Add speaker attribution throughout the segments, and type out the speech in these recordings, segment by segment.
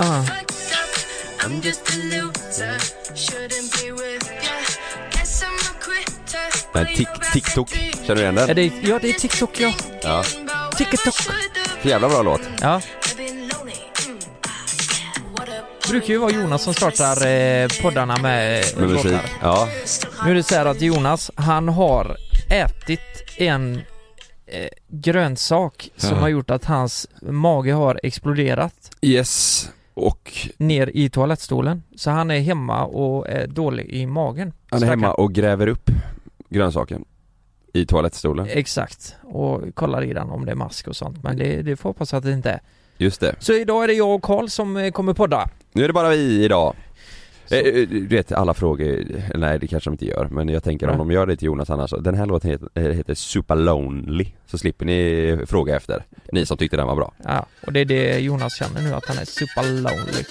Speaker 1: Ah.
Speaker 2: Men Tik- TikTok, känner du igen
Speaker 3: Ja,
Speaker 2: den?
Speaker 3: det är, ja, det är TikTok ja.
Speaker 2: Ja.
Speaker 3: TikTok.
Speaker 2: För jävla bra låt.
Speaker 3: Ja.
Speaker 4: Mm,
Speaker 3: Det brukar ju vara Jonas som startar eh, poddarna med, eh,
Speaker 2: Med musik.
Speaker 3: låtar.
Speaker 2: Ja.
Speaker 3: Nu är det så här att Jonas, han har ätit en eh, grönsak som
Speaker 2: Ja.
Speaker 3: har gjort att hans mage har exploderat
Speaker 2: Yes. Och
Speaker 3: ner i toalettstolen. Så han är hemma och är dålig i magen.
Speaker 2: han är
Speaker 3: Stackarn.
Speaker 2: hemma och gräver upp grönsaken. I toalettstolen.
Speaker 3: Exakt. Och kollar i den om det är mask och sånt. Men det, det får hoppas att det inte är.
Speaker 2: Just det.
Speaker 3: Så idag är det jag och Karl som eh, kommer podda.
Speaker 2: Nu är det bara vi idag.
Speaker 3: Så-
Speaker 2: Eh, eh, Du vet alla frågor, nej det kanske de inte gör men jag tänker om
Speaker 3: Nej.
Speaker 2: de gör det till Jonas annars, den här låten heter, eh, heter Super Lonely så slipper ni eh, fråga efter, ni som tyckte den var bra.
Speaker 3: Ja, och det är det Jonas känner nu, att han är super lonely.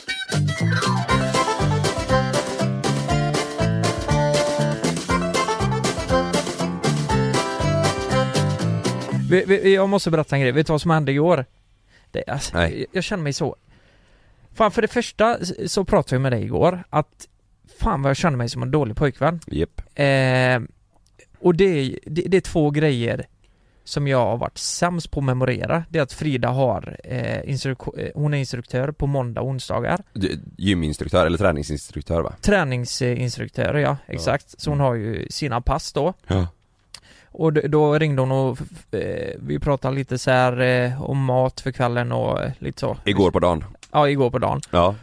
Speaker 3: Vi- vi- Jag måste berätta en grej, vet du vad som hände igår? Det, alltså,
Speaker 2: Nej.
Speaker 3: jag- Jag känner mig så... Fan, för det första s- så pratade jag med dig igår, att fan vad jag känner mig som en dålig pojkvän.
Speaker 2: Japp.
Speaker 3: Eh, och det, det, det är två grejer som jag har varit sämst på att memorera. Det är att Frida har, eh, instruk- eh, hon är instruktör på måndag och onsdagar.
Speaker 2: Du- Gyminstruktör eller träningsinstruktör va?
Speaker 3: Träningsinstruktör, ja exakt. Så hon har ju sina pass då.
Speaker 2: Ja.
Speaker 3: Och d- då ringde hon och f- f- eh, vi pratade lite så här eh, om mat för kvällen och eh, lite så.
Speaker 2: Igår på dagen.
Speaker 3: Ja, igår på dagen.
Speaker 2: Ja.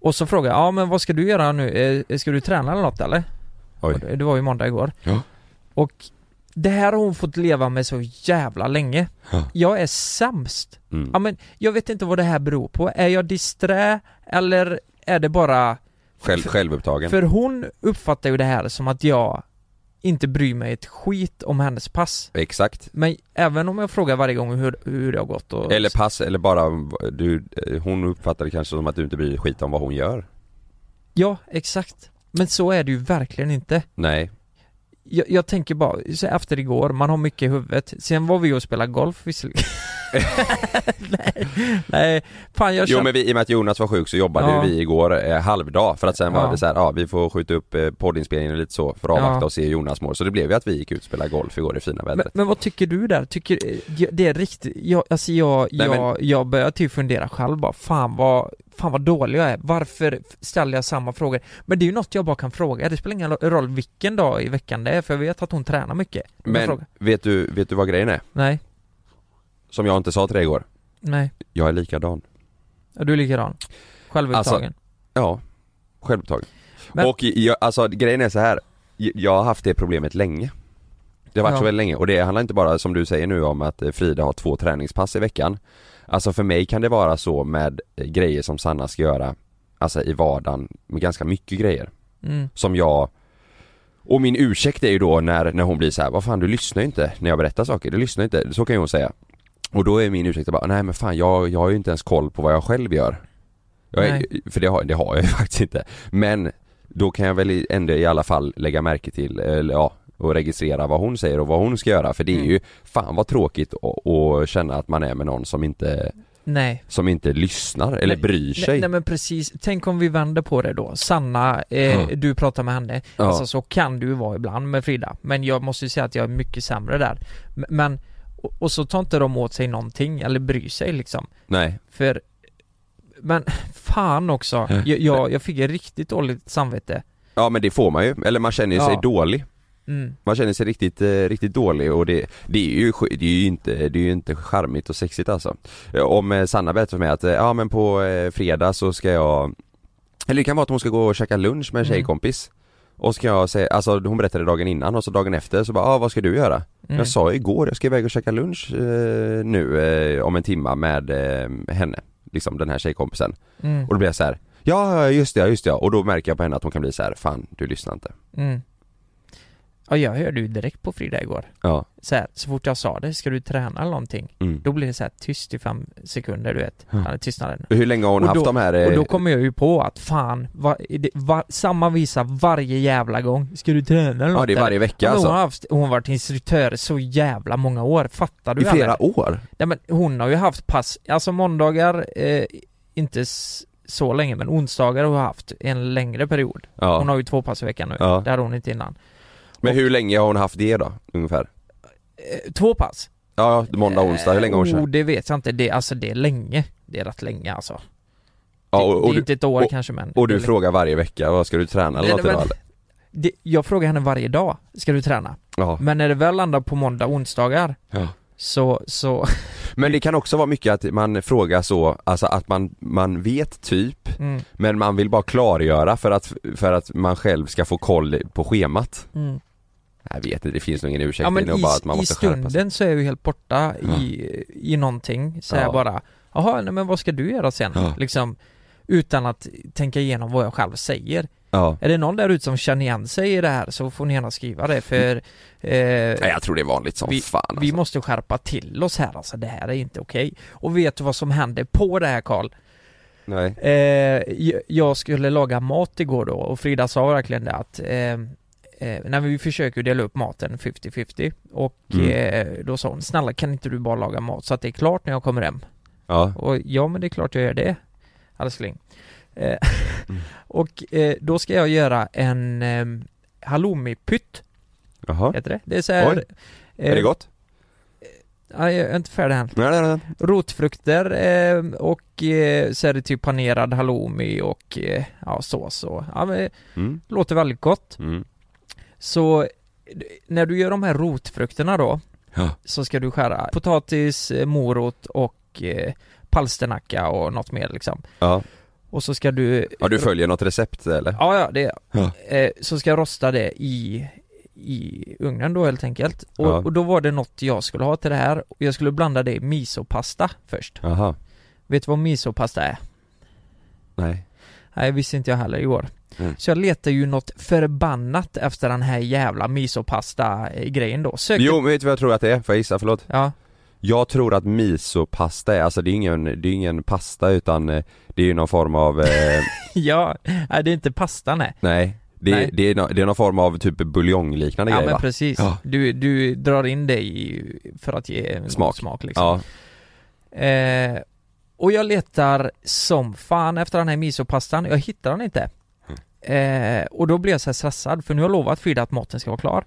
Speaker 3: Och så frågade jag, ja men vad ska du göra nu? Eh, Ska du träna eller något eller?
Speaker 2: Oj.
Speaker 3: Och Det det var ju måndag igår.
Speaker 2: Ja.
Speaker 3: Och det här har hon fått leva med så jävla länge.
Speaker 2: Ja.
Speaker 3: Jag är sämst.
Speaker 2: Mm.
Speaker 3: Ja, men jag vet inte vad det här beror på. Är jag disträ eller är det bara...
Speaker 2: Själv, självupptagen.
Speaker 3: För hon uppfattar ju det här som att jag inte bryr mig ett skit om hennes pass.
Speaker 2: Exakt.
Speaker 3: Men även om jag frågar varje gång hur, hur det har gått och...
Speaker 2: Eller pass, eller bara du, eh, hon uppfattar det kanske som att du inte bryr dig skit om vad hon gör.
Speaker 3: Ja, exakt. Men så är det ju verkligen inte.
Speaker 2: Nej.
Speaker 3: Jag, jag tänker bara, så efter igår, man har mycket i huvudet. Sen var vi och spelade golf visserligen. nej, nej, fan
Speaker 2: Jo
Speaker 3: jag känner...
Speaker 2: men vi, i och med att Jonas var sjuk så jobbade
Speaker 3: Ja.
Speaker 2: vi igår eh, halvdag för att sen var
Speaker 3: Ja.
Speaker 2: det så här, ja vi får skjuta upp eh, poddinspelningen och lite så för att avvakta
Speaker 3: Ja.
Speaker 2: och se hur Jonas mår. Så det blev ju att vi gick ut och spelade golf igår i fina
Speaker 3: men,
Speaker 2: vädret.
Speaker 3: men vad tycker du där? Tycker, eh, det är riktigt, jag, alltså jag,
Speaker 2: Nej, men-
Speaker 3: jag, jag börjar typ fundera själv bara, fan vad, fan vad dålig jag är. Varför ställer jag samma frågor? Men det är ju något jag bara kan fråga, det spelar ingen roll vilken dag i veckan det är, för jag vet att hon tränar mycket. Jag
Speaker 2: Men,
Speaker 3: frågar.
Speaker 2: vet, du, vet du vad grejen är?
Speaker 3: Nej,
Speaker 2: Som jag inte sa till dig igår.
Speaker 3: nej,
Speaker 2: Jag är likadan.
Speaker 3: ja, du är likadan.
Speaker 2: Alltså-
Speaker 3: Självupptagen.
Speaker 2: Ja, självupptagen.
Speaker 3: Men-
Speaker 2: Och jag, alltså grejen är så här. J- jag har haft det problemet länge. Det har varit
Speaker 3: Ja.
Speaker 2: så väldigt länge och det handlar inte bara som du säger nu om att eh, Frida har två träningspass i veckan. Alltså för mig kan det vara så med eh, grejer som Sanna ska göra, alltså i vardagen med ganska mycket grejer.
Speaker 3: mm.
Speaker 2: som jag och min ursäkt är ju då när, när hon blir så här, vad fan du lyssnar ju inte när jag berättar saker, du lyssnar inte, så kan ju hon säga Och då är min ursäkt bara, nej men fan jag, jag har ju inte ens koll på vad jag själv gör jag är, För det har, det har jag ju faktiskt inte, men då kan jag väl i- ändå i alla fall lägga märke till, eller ja och registrera vad hon säger och vad hon ska göra för det är
Speaker 3: Mm.
Speaker 2: ju fan vad tråkigt att- att känna att man är med någon som inte,
Speaker 3: Nej.
Speaker 2: som inte lyssnar eller bryr sig
Speaker 3: Nej, nej men precis, tänk om vi vänder på det då. Sanna, eh,
Speaker 2: Ja.
Speaker 3: du pratar med henne,
Speaker 2: Ja.
Speaker 3: alltså så kan du ju vara ibland med Frida. Men jag måste ju säga att jag är mycket sämre där. M- Men, och, och så tar inte de åt sig någonting eller bryr sig liksom.
Speaker 2: Nej,
Speaker 3: För Men fan också, jag, jag, jag fick ett riktigt dåligt samvete
Speaker 2: Ja men det får man ju, eller man känner ju sig
Speaker 3: Ja.
Speaker 2: dålig
Speaker 3: mm.
Speaker 2: Man känner sig riktigt, eh, riktigt dålig och det, det är ju, sk- det är ju inte, det är ju inte charmigt och sexigt alltså Eh, Om eh, Sanna berättar för mig att, eh, ja men på eh, fredag så ska jag Eller det kan vara att hon ska gå och käka lunch med en
Speaker 3: Mm.
Speaker 2: tjejkompis Och ska jag säga, alltså hon berättade dagen innan och så dagen efter så bara, ah, vad ska du göra?
Speaker 3: Mm.
Speaker 2: Jag sa igår, jag ska iväg och käka lunch eh, nu eh, om en timma med eh, henne Liksom den här tjejkompisen
Speaker 3: Mm.
Speaker 2: Och då blir jag så här. Ja, ja, just det, ja, just det. ja." Och då märker jag på henne att hon kan bli så här, fan du lyssnar inte.
Speaker 3: Mm. Ja, jag hörde ju direkt på Frida igår
Speaker 2: Ja.
Speaker 3: så, här, så fort jag sa det, ska du träna eller någonting?
Speaker 2: Mm.
Speaker 3: Då blir det så här tyst i fem sekunder du vet,
Speaker 2: Ja.
Speaker 3: ja. tystnaden
Speaker 2: Hur länge har hon
Speaker 3: Och
Speaker 2: haft
Speaker 3: då-
Speaker 2: de här... eh,
Speaker 3: Och då kommer jag ju på att fan, va, det, va, samma visa varje jävla gång Ska du träna eller
Speaker 2: ja,
Speaker 3: något
Speaker 2: det är
Speaker 3: eller?
Speaker 2: varje vecka
Speaker 3: men hon, har
Speaker 2: alltså.
Speaker 3: haft, hon har varit instruktör så jävla många år, fattar du
Speaker 2: I flera
Speaker 3: aldrig?
Speaker 2: år?
Speaker 3: Nej men hon har ju haft pass, alltså måndagar, eh, inte s- så länge men onsdagar har hon haft en längre period
Speaker 2: Ja.
Speaker 3: Hon har ju två pass i veckan nu,
Speaker 2: Ja.
Speaker 3: det hade hon inte innan
Speaker 2: Men hur länge har hon haft det då, ungefär?
Speaker 3: eh, Två pass?
Speaker 2: Ja, måndag, onsdag, hur länge har hon
Speaker 3: Eh,
Speaker 2: kört?
Speaker 3: Oh, det vet jag inte, det, alltså det är länge Det är rätt länge alltså
Speaker 2: Ja,
Speaker 3: Det-
Speaker 2: och,
Speaker 3: Det
Speaker 2: och,
Speaker 3: är
Speaker 2: du,
Speaker 3: inte ett år kanske men
Speaker 2: och du
Speaker 3: eller-
Speaker 2: frågar varje vecka, vad ska du träna eller
Speaker 3: Nej,
Speaker 2: något
Speaker 3: men-
Speaker 2: idag? eller?
Speaker 3: det, Jag frågar henne varje dag, ska du träna?
Speaker 2: Ja.
Speaker 3: Men när det väl landar på måndag, onsdagar
Speaker 2: Ja.
Speaker 3: Så, så,
Speaker 2: Men det kan också vara mycket att man frågar så, alltså att man, man vet typ,
Speaker 3: mm,
Speaker 2: men man vill bara klargöra för att, för att man själv ska få koll på schemat.
Speaker 3: mm.
Speaker 2: Jag vet inte, det finns nog ingen ursäkt, det
Speaker 3: Ja
Speaker 2: är
Speaker 3: men
Speaker 2: nog
Speaker 3: i,
Speaker 2: bara att man
Speaker 3: i
Speaker 2: måste skärpa sig.
Speaker 3: stunden så är jag ju helt borta i, i någonting, så här
Speaker 2: Ja.
Speaker 3: bara Jaha, nej men vad ska du göra sen?
Speaker 2: Ja.
Speaker 3: Liksom Utan att tänka igenom vad jag själv säger
Speaker 2: Ja.
Speaker 3: Är det någon där ute som känner igen sig i det här så får ni gärna skriva det för eh,
Speaker 2: Nej, jag tror det är vanligt som
Speaker 3: vi,
Speaker 2: fan alltså.
Speaker 3: vi måste skärpa till oss här alltså, det här är inte okej Och vet du vad som hände på det här Karl?
Speaker 2: Nej.
Speaker 3: Eh, jag- jag skulle laga mat igår då och Frida sa verkligen det att eh, eh, när vi försöker ju dela upp maten 50-50 och
Speaker 2: Mm.
Speaker 3: eh, då sa hon snälla kan inte du bara laga mat så att det är klart när jag kommer hem?
Speaker 2: Ja.
Speaker 3: Och ja men det är klart jag gör det älskling. Eh,
Speaker 2: Mm.
Speaker 3: och eh, då ska jag göra en eh, halloumipytt
Speaker 2: Jaha.
Speaker 3: heter det. Det är så här,
Speaker 2: Oj. Är
Speaker 3: eh,
Speaker 2: det gott?
Speaker 3: Nej, jag är inte färdig än.
Speaker 2: Nej, nej, nej.
Speaker 3: rotfrukter eh, och eh, så är det typ panerad halloumi och eh, ja, sås och ja, men,
Speaker 2: Mm.
Speaker 3: låter väldigt gott.
Speaker 2: Mm.
Speaker 3: Så eh, när du gör de här rotfrukterna då
Speaker 2: Ja.
Speaker 3: så ska du skära potatis, eh, morot och eh, palsternacka och något mer liksom.
Speaker 2: Ja.
Speaker 3: Och så ska du
Speaker 2: ja, du följer något recept eller?
Speaker 3: Ja, ja, det
Speaker 2: Ja.
Speaker 3: eh, Så ska jag rosta det i, i ugnen då helt enkelt. Och,
Speaker 2: Ja.
Speaker 3: och då var det något jag skulle ha till det här. Jag skulle blanda det i misopasta först.
Speaker 2: Jaha.
Speaker 3: Vet du vad misopasta är?
Speaker 2: Nej.
Speaker 3: Nej, visste inte jag heller igår.
Speaker 2: Mm.
Speaker 3: Så jag letar ju något förbannat efter den här jävla misopasta-grejen då. Sökte...
Speaker 2: Jo, men vet du vad jag tror att det är? Får jag gissa? Förlåt.
Speaker 3: Ja,
Speaker 2: Jag tror att misopasta är, alltså det är ingen, det är ingen pasta utan eh, det är ju någon form av, eh,
Speaker 3: ja. Nej, det är inte pasta nej.
Speaker 2: nej. Det,
Speaker 3: Nej.
Speaker 2: Det, är no, det är någon form av typ buljongliknande
Speaker 3: Ja
Speaker 2: grej
Speaker 3: men
Speaker 2: va?
Speaker 3: precis.
Speaker 2: Ja.
Speaker 3: Du, du drar in det i, för att ge en
Speaker 2: Smak.
Speaker 3: smak liksom.
Speaker 2: Ja,
Speaker 3: Eh, och jag letar som fan efter den här misopastan, jag hittar den inte.
Speaker 2: Mm.
Speaker 3: Eh, och då blir jag så här stressad, för nu har jag lovat Frida att maten ska vara klar.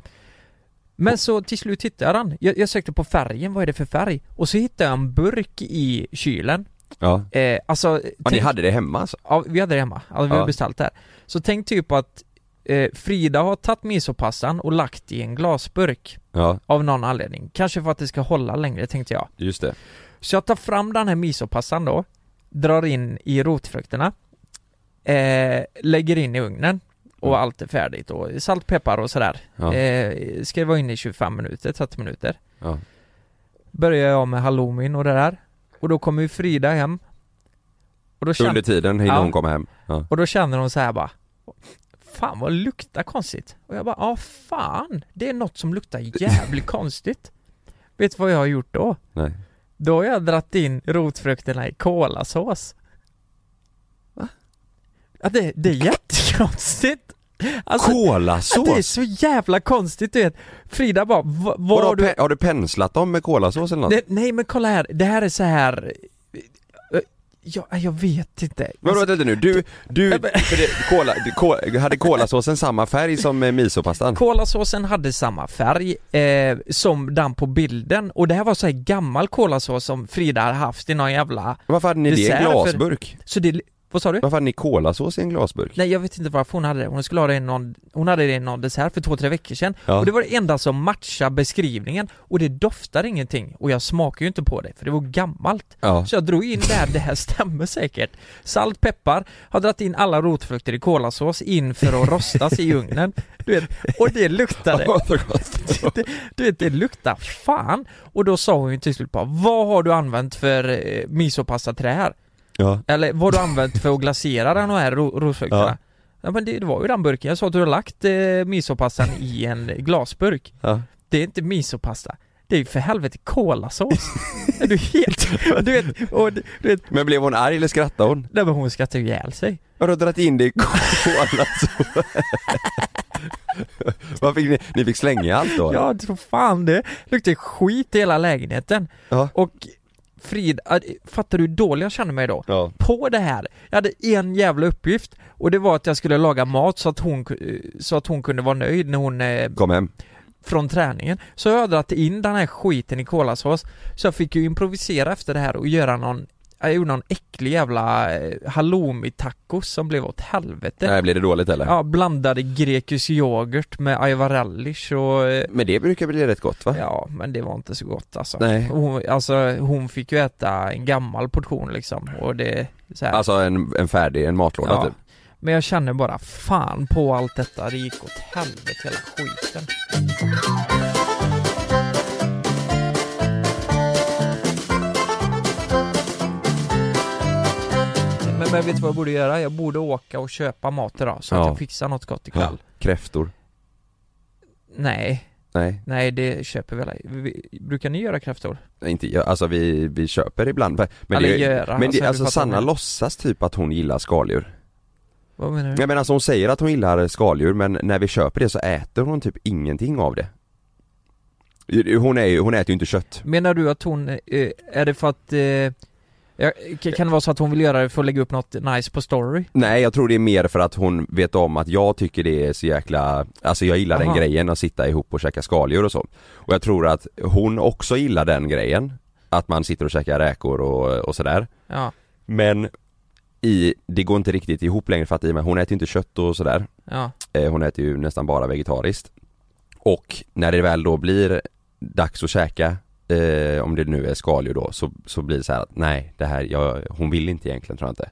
Speaker 3: Men så till slut hittade jag den. Jag, jag sökte på färgen, vad är det för färg? Och så hittade jag en burk i kylen.
Speaker 2: ja.
Speaker 3: Eh, alltså,
Speaker 2: Ja, ni
Speaker 3: tänk-
Speaker 2: hade det hemma alltså?
Speaker 3: ja, vi hade det hemma. Alltså, vi
Speaker 2: Ja.
Speaker 3: har beställt det här. Så tänk typ att eh, Frida har tagit misopastan och lagt i en glasburk
Speaker 2: Ja,
Speaker 3: av någon anledning. Kanske för att det ska hålla längre tänkte jag.
Speaker 2: just det.
Speaker 3: Så jag tar fram den här misopassan då, drar in i rotfrukterna, eh, lägger in i ugnen och
Speaker 2: Mm.
Speaker 3: allt är färdigt och salt, peppar och sådär.
Speaker 2: Ja.
Speaker 3: Eh, ska vara inne i 25 minuter, 30 minuter.
Speaker 2: Ja.
Speaker 3: Börjar jag med halloumin och det där och då kommer ju Frida hem och då,
Speaker 2: Under
Speaker 3: känner,
Speaker 2: tiden hinner
Speaker 3: Ja.
Speaker 2: hon komma hem. Ja.
Speaker 3: och då känner hon så här bara Fan vad det luktar konstigt och jag bara ja fan det är något som luktar jävligt konstigt Vet du vad jag har gjort då?
Speaker 2: Nej.
Speaker 3: Då har jag dratt in rotfrukterna i kolasås. Va? Ja, det, det är jättekonstigt. Alltså, ja, det är
Speaker 2: Kolasås!
Speaker 3: så jävla konstigt du vet. Frida bara, "Va- vad
Speaker 2: Vadå,
Speaker 3: har du...
Speaker 2: pe- Har du penslat dem med kolasås eller något?
Speaker 3: Det, nej men kolla här, det här är så här... eh, eh, jag, jag vet inte.
Speaker 2: Men vänta lite nu, du, du,
Speaker 3: Nej, Alltså, men-
Speaker 2: för det, cola, det, ko- hade kolasåsen samma färg som eh, misopastan?
Speaker 3: Kolasåsen hade samma färg eh, som den på bilden och det här var så här gammal kolasås som Frida hade haft i någon jävla...
Speaker 2: Varför hade ni det i en
Speaker 3: Dessert för-
Speaker 2: glasburk?
Speaker 3: Så det... Vad sa du?
Speaker 2: Varför hade ni kolasås i en glasburk?
Speaker 3: Nej jag vet inte varför hon hade det, hon skulle ha det i någon, hon hade det i någon dessert för två, tre veckor sedan
Speaker 2: Ja.
Speaker 3: Och det var det enda som matchade beskrivningen och det doftar ingenting och jag smakar ju inte på det för det var gammalt
Speaker 2: Ja.
Speaker 3: Så jag drog in det här, det här stämmer säkert Salt, peppar, har dragit in alla rotfrukter i kolasås in för att rostas i ugnen Du vet, och det luktade det, du vet, det luktar fan! Och då sa hon ju till slut bara Vad har du använt för eh, misopastaträ här?
Speaker 2: Ja.
Speaker 3: Eller vad har du använt för att glasera den här ro- rosfrukterna? Ja. men det, det var ju den burken, jag sa att du har lagt eh, misopastan i en glasburk
Speaker 2: Ja.
Speaker 3: Det är inte misopasta Det är ju för helvete kolasås! Är du helt... Du vet, och, du vet
Speaker 2: Men blev hon arg eller skrattade hon?
Speaker 3: nej men hon skrattade ju ihjäl sig
Speaker 2: Har du dragit in det i kolasås? Vad fick ni, ni fick slänga allt då?
Speaker 3: Ja, så fan det luktade skit i hela lägenheten
Speaker 2: Ja.
Speaker 3: Och Frid, äh, fattar du hur dålig jag känner mig då?
Speaker 2: Ja.
Speaker 3: På det här, jag hade en jävla uppgift och det var att jag skulle laga mat så att hon, ku- eh, så att hon kunde vara nöjd när hon, eh,
Speaker 2: Kom hem.
Speaker 3: från träningen Så jag hade dragit in den här skiten i kolasås Så jag fick ju improvisera efter det här och göra någon jag gjorde någon äcklig jävla eh, halloumi-tacos som blev åt helvete
Speaker 2: Nej, blev det dåligt eller?
Speaker 3: Ja, blandade grekisk yoghurt med Aivar Relish och eh,
Speaker 2: Men det brukar bli rätt gott va?
Speaker 3: Ja, men det var inte så gott alltså.
Speaker 2: Nej.
Speaker 3: Hon, alltså hon fick ju äta en gammal portion liksom och det så här.
Speaker 2: Alltså en, en färdig, en matlåda
Speaker 3: Ja.
Speaker 2: typ.
Speaker 3: Men jag känner bara fan på allt detta, det gick åt helvete hela skiten. Men, men vet du vad jag borde göra? Jag borde åka och köpa mat idag så att
Speaker 2: Ja.
Speaker 3: jag fixar något gott
Speaker 2: Ja.
Speaker 3: ikväll.
Speaker 2: Kräftor.
Speaker 3: Nej,
Speaker 2: Nej,
Speaker 3: nej det köper vi alla. Vi- Brukar ni göra kräftor?
Speaker 2: inte jag. Alltså vi, vi köper ibland. Men
Speaker 3: Eller
Speaker 2: det,
Speaker 3: göra,
Speaker 2: men
Speaker 3: alltså,
Speaker 2: det,
Speaker 3: du
Speaker 2: alltså
Speaker 3: fattar
Speaker 2: Sanna
Speaker 3: vad jag- Mm.
Speaker 2: låtsas typ att hon gillar skaldjur.
Speaker 3: Vad menar du?
Speaker 2: Nej men alltså hon säger att hon gillar skaldjur men när vi köper det så äter hon typ ingenting av det. Hon, är, ju- hon äter ju inte kött.
Speaker 3: Menar du att hon, eh, är det för att eh, ja, k- kan det vara så att hon vill göra det för att lägga upp något nice på story?
Speaker 2: Nej jag tror det är mer för att hon vet om att jag tycker det är så jäkla, alltså jag gillar den
Speaker 3: Aha.
Speaker 2: grejen att sitta ihop och käka skaldjur och så. Och jag tror att hon också gillar den grejen. Att man sitter och käkar räkor och, och sådär.
Speaker 3: Ja,
Speaker 2: Men i, det går inte riktigt ihop längre för att i och med, hon äter ju inte kött och sådär.
Speaker 3: ja,
Speaker 2: Eh, Hon äter ju nästan bara vegetariskt. Och när det väl då blir dags att käka, eh, om det nu är skaldjur då, så, så blir det så här att nej, det här, jag, hon vill inte egentligen tror jag inte.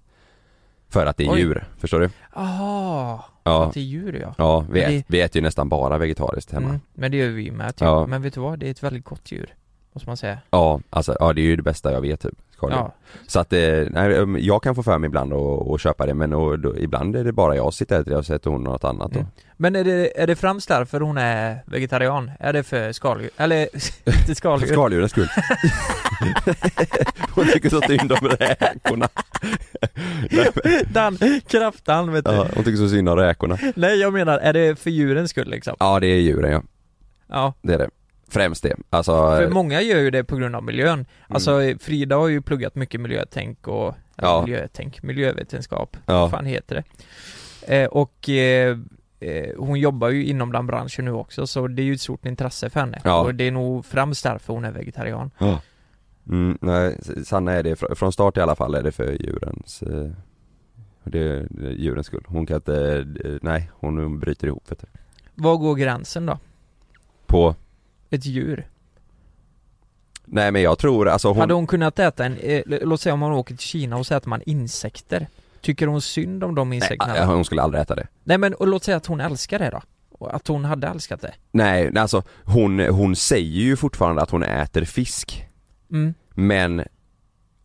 Speaker 2: För att det är
Speaker 3: Oj.
Speaker 2: djur, förstår du?
Speaker 3: aha,
Speaker 2: Ja,
Speaker 3: till djur ja.
Speaker 2: ja vi,
Speaker 3: Men det-
Speaker 2: ät, vi äter ju nästan bara vegetariskt hemma.
Speaker 3: Mm, men det gör vi ju med typ.
Speaker 2: Ja.
Speaker 3: Men vet du vad, det är ett väldigt gott djur, måste man säga.
Speaker 2: Ja, alltså ja, det är ju det bästa jag vet typ, skaldjur.
Speaker 3: Ja,
Speaker 2: Så att, eh, nej, um, jag kan få för mig ibland och, och köpa det men och, då, ibland är det bara jag som sitter och äter det och så äter hon något annat då.
Speaker 3: Mm. Men är det, är det främst därför hon är vegetarian? Är det för skaldjur? Eller, inte
Speaker 2: För
Speaker 3: skaldjur?
Speaker 2: skaldjurens skull. Hon tycker så synd om räkorna. Nej, men-
Speaker 3: Den kraftan vet du.
Speaker 2: ja, hon tycker så synd om räkorna.
Speaker 3: Nej jag menar, är det för djurens skull liksom?
Speaker 2: Ja det är djuren ja,
Speaker 3: Ja.
Speaker 2: det är det. Främst det. Alltså,
Speaker 3: För många gör ju det på grund av miljön. Alltså Frida har ju pluggat mycket miljötänk och eller
Speaker 2: Mm. Ja.
Speaker 3: miljötänk, miljövetenskap,
Speaker 2: ja,
Speaker 3: vad fan heter det? Eh, och eh, eh, hon jobbar ju inom den branschen nu också så det är ju ett stort intresse för henne.
Speaker 2: Ja.
Speaker 3: Och det är nog främst därför hon är vegetarian.
Speaker 2: mm, nej, Sanna är det, fr- från start i alla fall är det för djurens, eh, det är det är djurens skull. Hon kan inte, eh, nej hon bryter ihop vet du.
Speaker 3: Var går gränsen då?
Speaker 2: På,
Speaker 3: Ett djur?
Speaker 2: nej men jag tror alltså hon,
Speaker 3: Hade hon kunnat äta en, eh, l- låt säga om hon åker till Kina och så äter man insekter. Tycker hon synd om de
Speaker 2: nej,
Speaker 3: insekterna? Nej,
Speaker 2: eh, hon skulle aldrig äta det.
Speaker 3: men och låt säga att hon älskar det då? Och att hon hade älskat det?
Speaker 2: Nej, nej, alltså hon, hon säger ju fortfarande att hon äter fisk.
Speaker 3: Mm.
Speaker 2: Men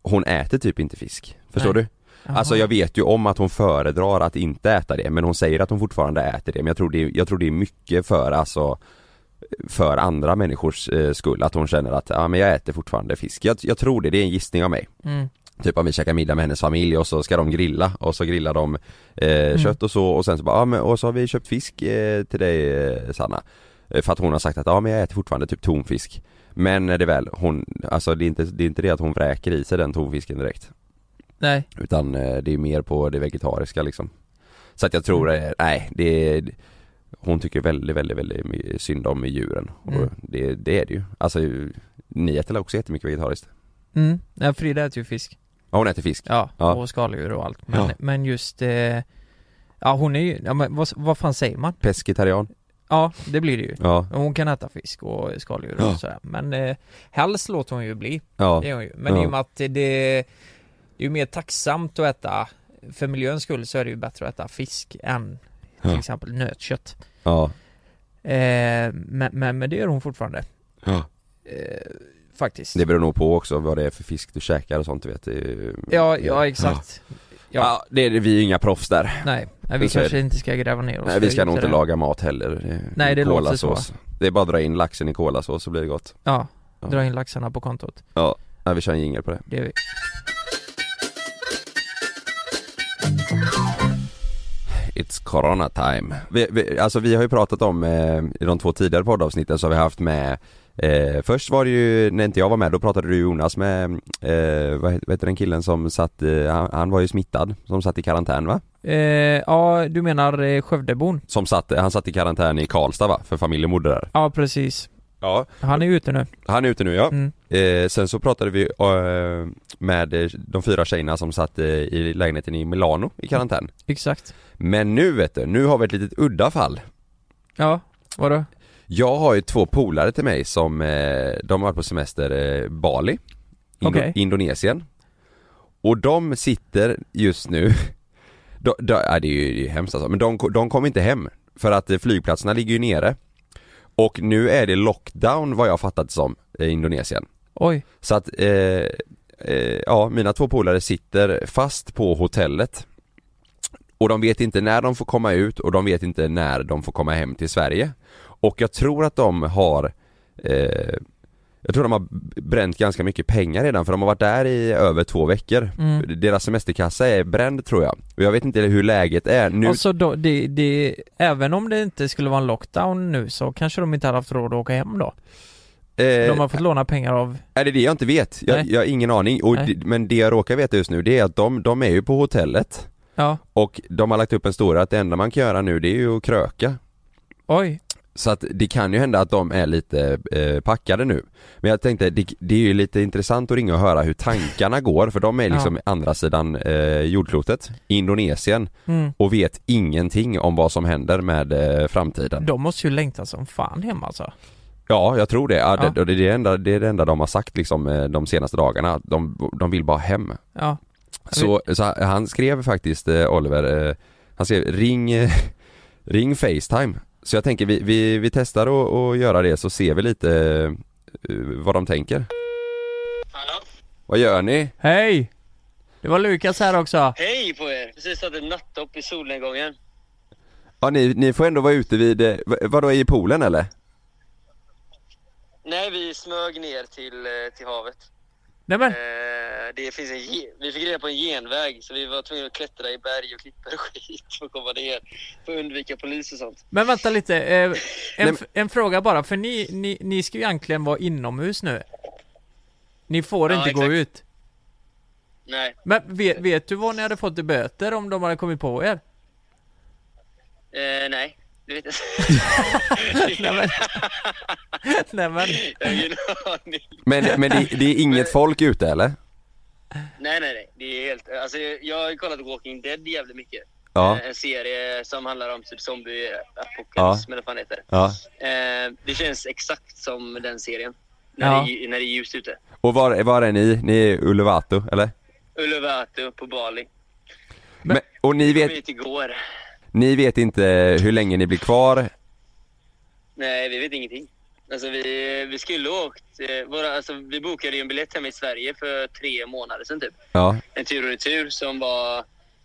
Speaker 2: hon äter typ inte fisk, förstår
Speaker 3: Nej.
Speaker 2: du? Alltså
Speaker 3: Jaha.
Speaker 2: jag vet ju om att hon föredrar att inte äta det men hon säger att hon fortfarande äter det men jag tror det, jag tror det är mycket för alltså för andra människors eh, skull att hon känner att ja men jag äter fortfarande fisk. Jag, jag tror det, det är en gissning av mig.
Speaker 3: Mm.
Speaker 2: Typ om vi käkar middag med hennes familj och så ska de grilla och så grillar de eh,
Speaker 3: Mm.
Speaker 2: kött och så och sen så bara, ja men och så har vi köpt fisk eh, till dig eh, Sanna. Eh, För att hon har sagt att ja men jag äter fortfarande typ tonfisk. eh, Men är det väl, hon, alltså det är inte det, är inte det att hon vräker i sig den tonfisken direkt.
Speaker 3: Nej.
Speaker 2: Utan eh, det är mer på det vegetariska liksom Så att jag tror,
Speaker 3: Mm.
Speaker 2: eh, nej det är, Hon tycker väldigt väldigt väldigt my- synd om djuren och
Speaker 3: Mm.
Speaker 2: det, det är det ju Alltså ni äter också jättemycket vegetariskt?
Speaker 3: Mm. Nej, Frida äter ju fisk.
Speaker 2: Ja hon äter fisk
Speaker 3: Ja,
Speaker 2: Ja.
Speaker 3: och skaldjur och allt. Men,
Speaker 2: Ja.
Speaker 3: men just eh, Ja hon är ju, ja, men vad, vad fan säger man?
Speaker 2: Pescetarian?
Speaker 3: Ja, det blir det ju.
Speaker 2: Ja,
Speaker 3: Hon kan äta fisk och skaldjur
Speaker 2: Ja.
Speaker 3: och sådär. Men eh, helst låter hon ju bli.
Speaker 2: ja,
Speaker 3: Det gör hon ju. Men
Speaker 2: Ja.
Speaker 3: i och med att det, det är ju mer tacksamt att äta för miljöns skull så är det ju bättre att äta fisk än till
Speaker 2: Ja.
Speaker 3: exempel nötkött.
Speaker 2: ja,
Speaker 3: Eh, men, men, men det gör hon fortfarande.
Speaker 2: Ja.
Speaker 3: Eh, faktiskt.
Speaker 2: Det beror nog på också vad det är för fisk du käkar och sånt du vet det är ju-
Speaker 3: Ja, ja exakt.
Speaker 2: Ja, det är det, vi är inga proffs där
Speaker 3: Nej, nej vi
Speaker 2: Så är
Speaker 3: kanske inte ska gräva ner oss.
Speaker 2: Nej vi
Speaker 3: för
Speaker 2: ska nog
Speaker 3: djupt i
Speaker 2: inte
Speaker 3: det här.
Speaker 2: laga mat heller är
Speaker 3: Nej, det låter så.
Speaker 2: kolasås. Det är bara att dra in laxen i kolasås så blir det gott
Speaker 3: Ja,
Speaker 2: Ja.
Speaker 3: dra in laxarna på kontot.
Speaker 2: Nej vi kör en jingel på det
Speaker 3: Det är vi.
Speaker 2: It's corona time. Vi, vi, alltså vi har ju pratat om, eh, i de två tidigare poddavsnitten så har vi haft med eh, Först var det ju, när inte jag var med, då pratade du Jonas med, eh, vad, heter, vad heter den killen som satt, eh, han, han var ju smittad, som satt i karantän va?
Speaker 3: Eh, ja, du menar eh, Skövdebon?
Speaker 2: Som satt, han satt i karantän i Karlstad va? För familjen bodde där.
Speaker 3: Ja, precis.
Speaker 2: Ja.
Speaker 3: Han är ute nu.
Speaker 2: Han är ute nu ja.
Speaker 3: Mm.
Speaker 2: Eh, sen så pratade vi eh, med eh, de fyra tjejerna som satt eh, i lägenheten i Milano i karantän.
Speaker 3: Exakt.
Speaker 2: Men nu vet du, nu har vi ett litet udda fall.
Speaker 3: Ja, vadå?
Speaker 2: Jag har ju två polare till mig som, eh, de har varit på semester eh, Bali, Indo-
Speaker 3: Okej.
Speaker 2: Indonesien Och de sitter just nu, de, de, ja, det är ju det är ju hemskt alltså, men de, ko- de kom inte hem för att eh, flygplatserna ligger ju nere Och nu är det lockdown vad jag har fattat som i Indonesien
Speaker 3: Oj.
Speaker 2: Så att, eh, eh, ja mina två polare sitter fast på hotellet och de vet inte när de får komma ut och de vet inte när de får komma hem till Sverige. Och jag tror att de har eh, Jag tror de har bränt ganska mycket pengar redan för de har varit där i över två veckor.
Speaker 3: Mm.
Speaker 2: Deras semesterkassa är bränd tror jag. Och jag vet inte hur läget är nu.
Speaker 3: Alltså då, det, det, även om det inte skulle vara en lockdown nu så kanske de inte hade haft råd att åka hem då.
Speaker 2: eh,
Speaker 3: De har fått låna pengar av,
Speaker 2: Är det det jag inte vet? Jag,
Speaker 3: Nej.
Speaker 2: jag har ingen aning. Och,
Speaker 3: Nej.
Speaker 2: det- men det jag råkar veta just nu det är att de, de är ju på hotellet
Speaker 3: ja,
Speaker 2: och de har lagt upp en story att det enda man kan göra nu det är ju att kröka.
Speaker 3: oj,
Speaker 2: Så att det kan ju hända att de är lite eh, packade nu. Men jag tänkte, det, det är ju lite intressant att ringa och höra hur tankarna går för de är liksom andra sidan eh, jordklotet, Indonesien
Speaker 3: mm.
Speaker 2: och vet ingenting om vad som händer med eh, framtiden.
Speaker 3: de måste ju längta som fan hem alltså.
Speaker 2: Ja, jag tror det. Ja, det,
Speaker 3: Ja.
Speaker 2: Det, är det, enda, det är det enda de har sagt liksom eh, de senaste dagarna. De, de vill bara hem.
Speaker 3: Ja,
Speaker 2: Så, Alltså, så han skrev faktiskt, eh, Oliver, eh, han skrev ring, eh, ring Facetime. Så jag tänker vi, vi, vi testar att att göra det så ser vi lite eh, vad de tänker. Vad gör ni?
Speaker 3: hej! Det var Lukas här också.
Speaker 5: Hej på er! Precis hade nattdopp i solnedgången.
Speaker 2: Ja, ni, ni får ändå vara ute vid, eh, v- vadå i poolen eller?
Speaker 5: Nej, vi smög ner till, eh, till havet.
Speaker 3: Nej men,
Speaker 5: Eh, det finns en, ge- vi fick reda på en genväg, så vi var tvungna att klättra i berg och klippor och skit för att komma ner. För att undvika polis och sånt.
Speaker 3: men vänta lite. Eh, en,
Speaker 2: men-
Speaker 3: f- en fråga bara, för ni, ni, ni ska ju egentligen vara inomhus nu. Ni får
Speaker 5: Ja,
Speaker 3: inte gå
Speaker 5: exakt.
Speaker 3: ut.
Speaker 5: Nej.
Speaker 3: Men vet, vet du vad ni hade fått i böter om de hade kommit på er?
Speaker 5: Eh, nej. Det vet jag
Speaker 3: Nej men, nej men,
Speaker 5: Jag har ingen aning.
Speaker 2: Men, men det, det är inget folk ute eller?
Speaker 5: Nej, nej, nej. Det är helt... Alltså, jag har ju kollat Walking Dead jävligt mycket.
Speaker 2: Ja,
Speaker 5: Eh, En serie som handlar om typ zombie-apokalyps,
Speaker 2: Ja.
Speaker 5: eller vad fan det heter.
Speaker 2: ja.
Speaker 5: Eh, det känns exakt som den serien. När,
Speaker 3: Ja.
Speaker 5: det, när det är ljust ute.
Speaker 2: Och var, var är ni? Ni är Ullevato eller?
Speaker 5: Uluwatu på Bali.
Speaker 2: Men, och ni
Speaker 5: Kom
Speaker 2: vet,
Speaker 5: hit igår.
Speaker 2: ni vet inte hur länge ni blir kvar?
Speaker 5: Nej, vi vet ingenting. Alltså vi, vi skulle ha åkt. Eh, våra, alltså, vi bokade ju en biljett hem i Sverige för tre månader sedan typ.
Speaker 2: Ja,
Speaker 5: En tur och retur som var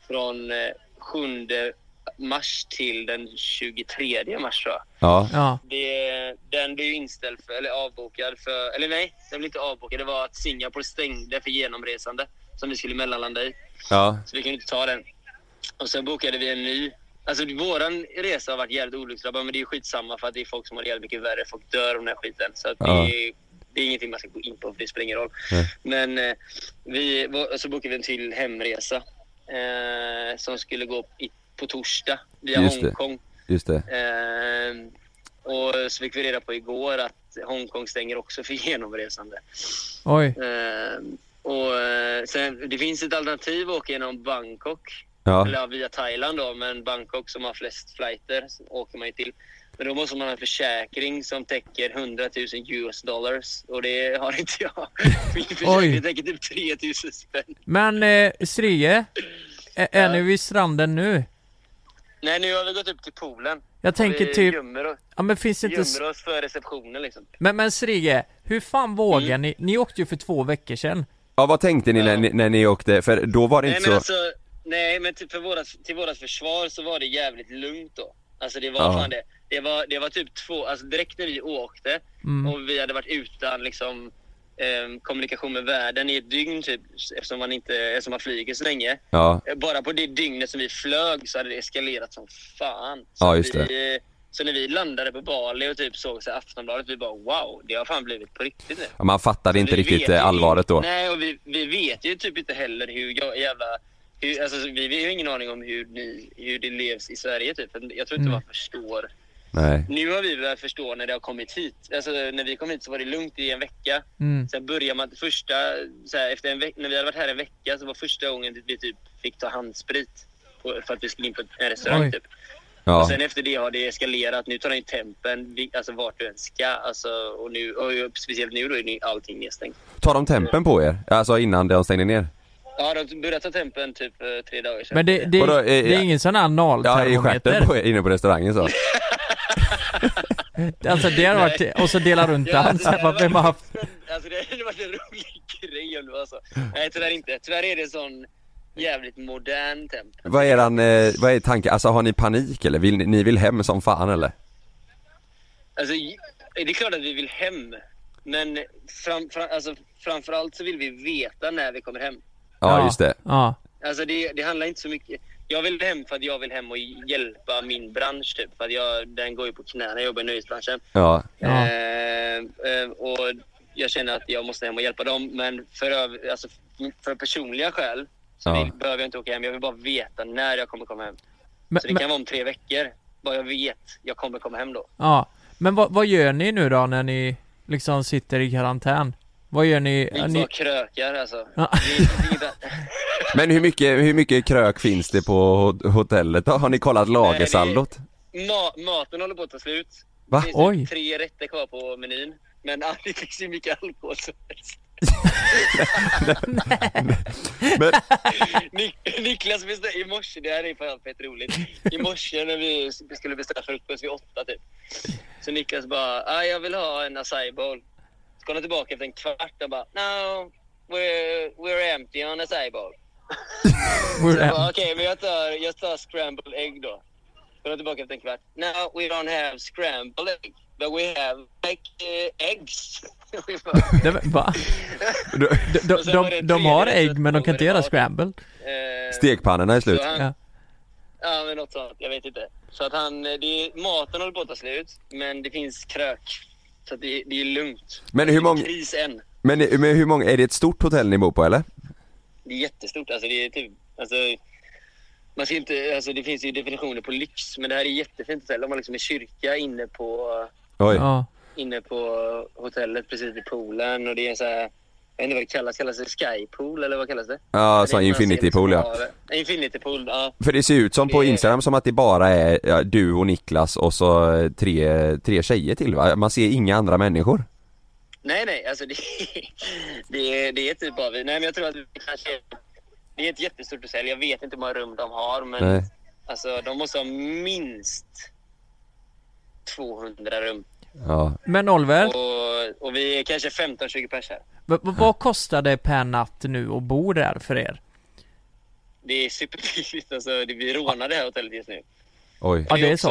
Speaker 5: från eh, 7 mars till den 23 mars tror jag.
Speaker 2: ja,
Speaker 3: ja.
Speaker 5: Det, den blev ju inställd, för, eller avbokad för, eller nej, den blev inte avbokad. Det var att Singapore stängde för genomresande som vi skulle mellanlanda i.
Speaker 2: ja,
Speaker 5: Så vi kunde inte ta den. Och sen bokade vi en ny. Alltså våran resa har varit jävligt olycksdrabbad men det är skitsamma för att det är folk som har det jävligt mycket värre. Folk dör av den här skiten. Så att
Speaker 2: Ja.
Speaker 5: det, Det är ingenting man ska gå in på, för det spelar ingen roll.
Speaker 2: Nej.
Speaker 5: Men eh, vi, var- så bokade vi en till hemresa eh, som skulle gå i, på torsdag via
Speaker 2: Just det.
Speaker 5: Hongkong.
Speaker 2: Just det.
Speaker 5: Eh, och så fick vi reda på igår att Hongkong stänger också för genomresande.
Speaker 3: Oj.
Speaker 5: Eh, och eh, sen, det finns ett alternativ att åka genom Bangkok.
Speaker 2: Ja.
Speaker 5: Eller ja, via Thailand då, men Bangkok som har flest flighter så åker man ju till. Men då måste man ha en försäkring som täcker 100 000 US dollars och det har inte jag. Min
Speaker 3: Oj.
Speaker 5: försäkring täcker typ 3 000 spänn.
Speaker 3: Men eh, Strie, är, är ni vid stranden nu?
Speaker 5: Nej, nu har vi gått upp till poolen.
Speaker 3: Jag tänker
Speaker 5: vi
Speaker 3: typ,
Speaker 5: gömmer, oss,
Speaker 3: ja men finns det inte... s-
Speaker 5: gömmer oss för receptionen liksom.
Speaker 3: Men, men Strie, hur fan vågar
Speaker 5: Mm.
Speaker 3: ni? Ni åkte ju för två veckor sedan.
Speaker 2: ja, vad tänkte ni när, ni när ni åkte? För då var det
Speaker 5: Nej
Speaker 2: inte
Speaker 5: men
Speaker 2: så...
Speaker 5: alltså, nej men till, för våras, till våras försvar så var det jävligt lugnt då. Alltså det var
Speaker 2: Ja.
Speaker 5: fan det. Det var, det var typ två, alltså direkt när vi åkte
Speaker 2: Mm.
Speaker 5: och vi hade varit utan liksom eh, kommunikation med världen i ett dygn typ eftersom man inte, eftersom man flyger så länge.
Speaker 2: Ja,
Speaker 5: Eh, Bara på det dygnet som vi flög så hade det eskalerat som fan. Så
Speaker 2: Ja, just
Speaker 5: vi, Så när vi landade på Bali och typ såg så här Aftonbladet, vi bara wow, det har fan blivit på riktigt nu.
Speaker 2: man fattade inte
Speaker 5: Vi
Speaker 2: riktigt
Speaker 5: Alltså, vet ju
Speaker 2: eh, allvaret då.
Speaker 5: Nej, och vi, vi vet ju typ inte heller hur jag- jävla... Hur, alltså, vi vi har ju ingen aning om hur, ni, hur det levs i Sverige typ. Jag
Speaker 2: Mm.
Speaker 5: tror inte man förstår.
Speaker 2: Nej.
Speaker 5: Nu har vi börjat förstå när det har kommit hit. Alltså när vi kom hit så var det lugnt i en vecka.
Speaker 3: Mm.
Speaker 5: Sen börjar man första... Så här, efter en veck, när vi hade varit här en vecka så var första gången vi typ fick ta handsprit. på- För att vi skulle in på en
Speaker 3: Oj.
Speaker 5: restaurang typ. Och
Speaker 2: Ja.
Speaker 5: sen efter det har det eskalerat. Nu tar den ju tempen, vi- alltså vart du än ska. Alltså, och, nu, och speciellt nu då är ju allting nedstängt.
Speaker 2: Tar de tempen på er? Alltså innan de stängde ner?
Speaker 5: Ja, de började ta tempen typ eh, tre dagar sedan.
Speaker 3: Men det, det,
Speaker 2: Vadå, eh,
Speaker 3: det är
Speaker 2: ja.
Speaker 3: ingen sån här
Speaker 2: Ja, i stjärten
Speaker 3: nolltermometer.
Speaker 2: på er, inne på restaurangen så.
Speaker 3: Alltså det har varit, och så dela runt
Speaker 5: Ja,
Speaker 3: den
Speaker 5: det där
Speaker 3: sen, vad vem har haft?
Speaker 5: Alltså det hade varit en rolig grej om det var så. Nej, tyvärr inte. Tyvärr är det en sån jävligt modern temp.
Speaker 2: Vad är eran, eh, vad är tanken? Alltså har ni panik eller? Vill ni, ni vill hem som fan eller?
Speaker 5: Alltså, j- det är klart att vi vill hem. Men fram, fram, alltså, framförallt så vill vi veta när vi kommer hem.
Speaker 2: Ja, just det.
Speaker 3: Ja.
Speaker 5: Alltså det, det handlar inte så mycket. Jag vill hem för att jag vill hem och hjälpa min bransch typ. För att jag, den går ju på knäna. Jag jobbar i nöjesbranschen.
Speaker 2: Ja.
Speaker 3: Ja.
Speaker 5: Eh, eh, och jag känner att jag måste hem och hjälpa dem. Men för, öv- alltså, för personliga skäl så
Speaker 2: Ja.
Speaker 5: vill, behöver jag inte åka hem. Jag vill bara veta när jag kommer komma hem.
Speaker 3: Men,
Speaker 5: Så det
Speaker 3: men,
Speaker 5: kan vara om tre veckor. Bara jag vet. Jag kommer komma hem då.
Speaker 3: ja. men vad, vad gör ni nu då när ni liksom sitter i karantän? Vad gör ni?
Speaker 5: Vi
Speaker 3: Ja,
Speaker 5: bara
Speaker 3: ni
Speaker 5: krökar alltså.
Speaker 3: Ja.
Speaker 5: Det är inget annat.
Speaker 2: Men hur mycket, hur mycket krök finns det på hot- hotellet då? Har ni kollat lagersaldot?
Speaker 5: Ma- maten håller på att ta slut.
Speaker 2: Va?
Speaker 5: Det finns
Speaker 3: Oj.
Speaker 5: typ tre rätter kvar på menyn. Men ah, det finns ju mycket alkohol som helst.
Speaker 2: Men,
Speaker 5: Nik- Niklas beställde i morse, det här är fan fett roligt. I morse när vi s- skulle beställa frukost vid åtta typ. Så Niklas bara, ah, jag vill ha en acai bowl. Så kom han tillbaka efter en kvart och bara, no, we're, we're empty on acai bowl. Så jag bara, Okej, men jag tar, jag tar scrambled egg då. Kom han tillbaka efter en kvart. No, we don't have scrambled egg. But we have like eh, eggs. Vi bara,
Speaker 3: Nej, men, va?
Speaker 2: då-
Speaker 3: De, de,
Speaker 5: Och sen var det
Speaker 3: de,
Speaker 5: en
Speaker 3: de har
Speaker 5: tredje
Speaker 3: ägg
Speaker 5: rätt
Speaker 3: men de
Speaker 5: på
Speaker 3: kan inte göra
Speaker 5: varje dag.
Speaker 3: scramble.
Speaker 5: eh,
Speaker 2: Stekpannorna är slut.
Speaker 5: så han-
Speaker 3: Ja.
Speaker 5: Ja, men något sånt. Jag vet inte. Så att han, eh, det är, maten håller på att ta slut, men det finns krök. Så att det, det är lugnt.
Speaker 2: Men hur
Speaker 5: Det är
Speaker 2: många-
Speaker 5: Kris än.
Speaker 2: Men, men hur många, är det ett stort hotell ni bor på eller?
Speaker 5: Det är jättestort. Alltså, det är typ... Alltså, man ska inte, alltså, det finns ju definitioner på lyx, men det här är jättefint hotell. De har liksom en kyrka inne på,
Speaker 2: Oj.
Speaker 3: Ja.
Speaker 5: inne på hotellet precis vid poolen och det är en så här... Jag vet inte vad det kallas. Kallas det skypool eller vad kallas det?
Speaker 2: Ja,
Speaker 5: Det är
Speaker 2: så
Speaker 5: en
Speaker 2: infinity pool ja.
Speaker 5: havet. Infinity pool, ja.
Speaker 2: För det ser ut som på Instagram som att det bara är ja, du och Niklas och så eh, tre, tre tjejer till va? Man ser inga andra människor.
Speaker 5: Nej, nej, alltså det, det, är, det är typ bara vi. Nej, men jag tror att vi kanske... Det är ett jättestort hotell. Jag vet inte hur många rum de har, men
Speaker 2: Nej.
Speaker 5: alltså, de måste ha minst 200 rum.
Speaker 2: Ja.
Speaker 3: Men Oliver,
Speaker 5: Och, och vi är kanske 15-20 pers här.
Speaker 3: v- v- vad kostar det per natt nu att bo där för er?
Speaker 5: Det är superbilligt. Alltså, det- vi rånar det här hotellet just nu.
Speaker 2: Oj.
Speaker 3: Ja det är så.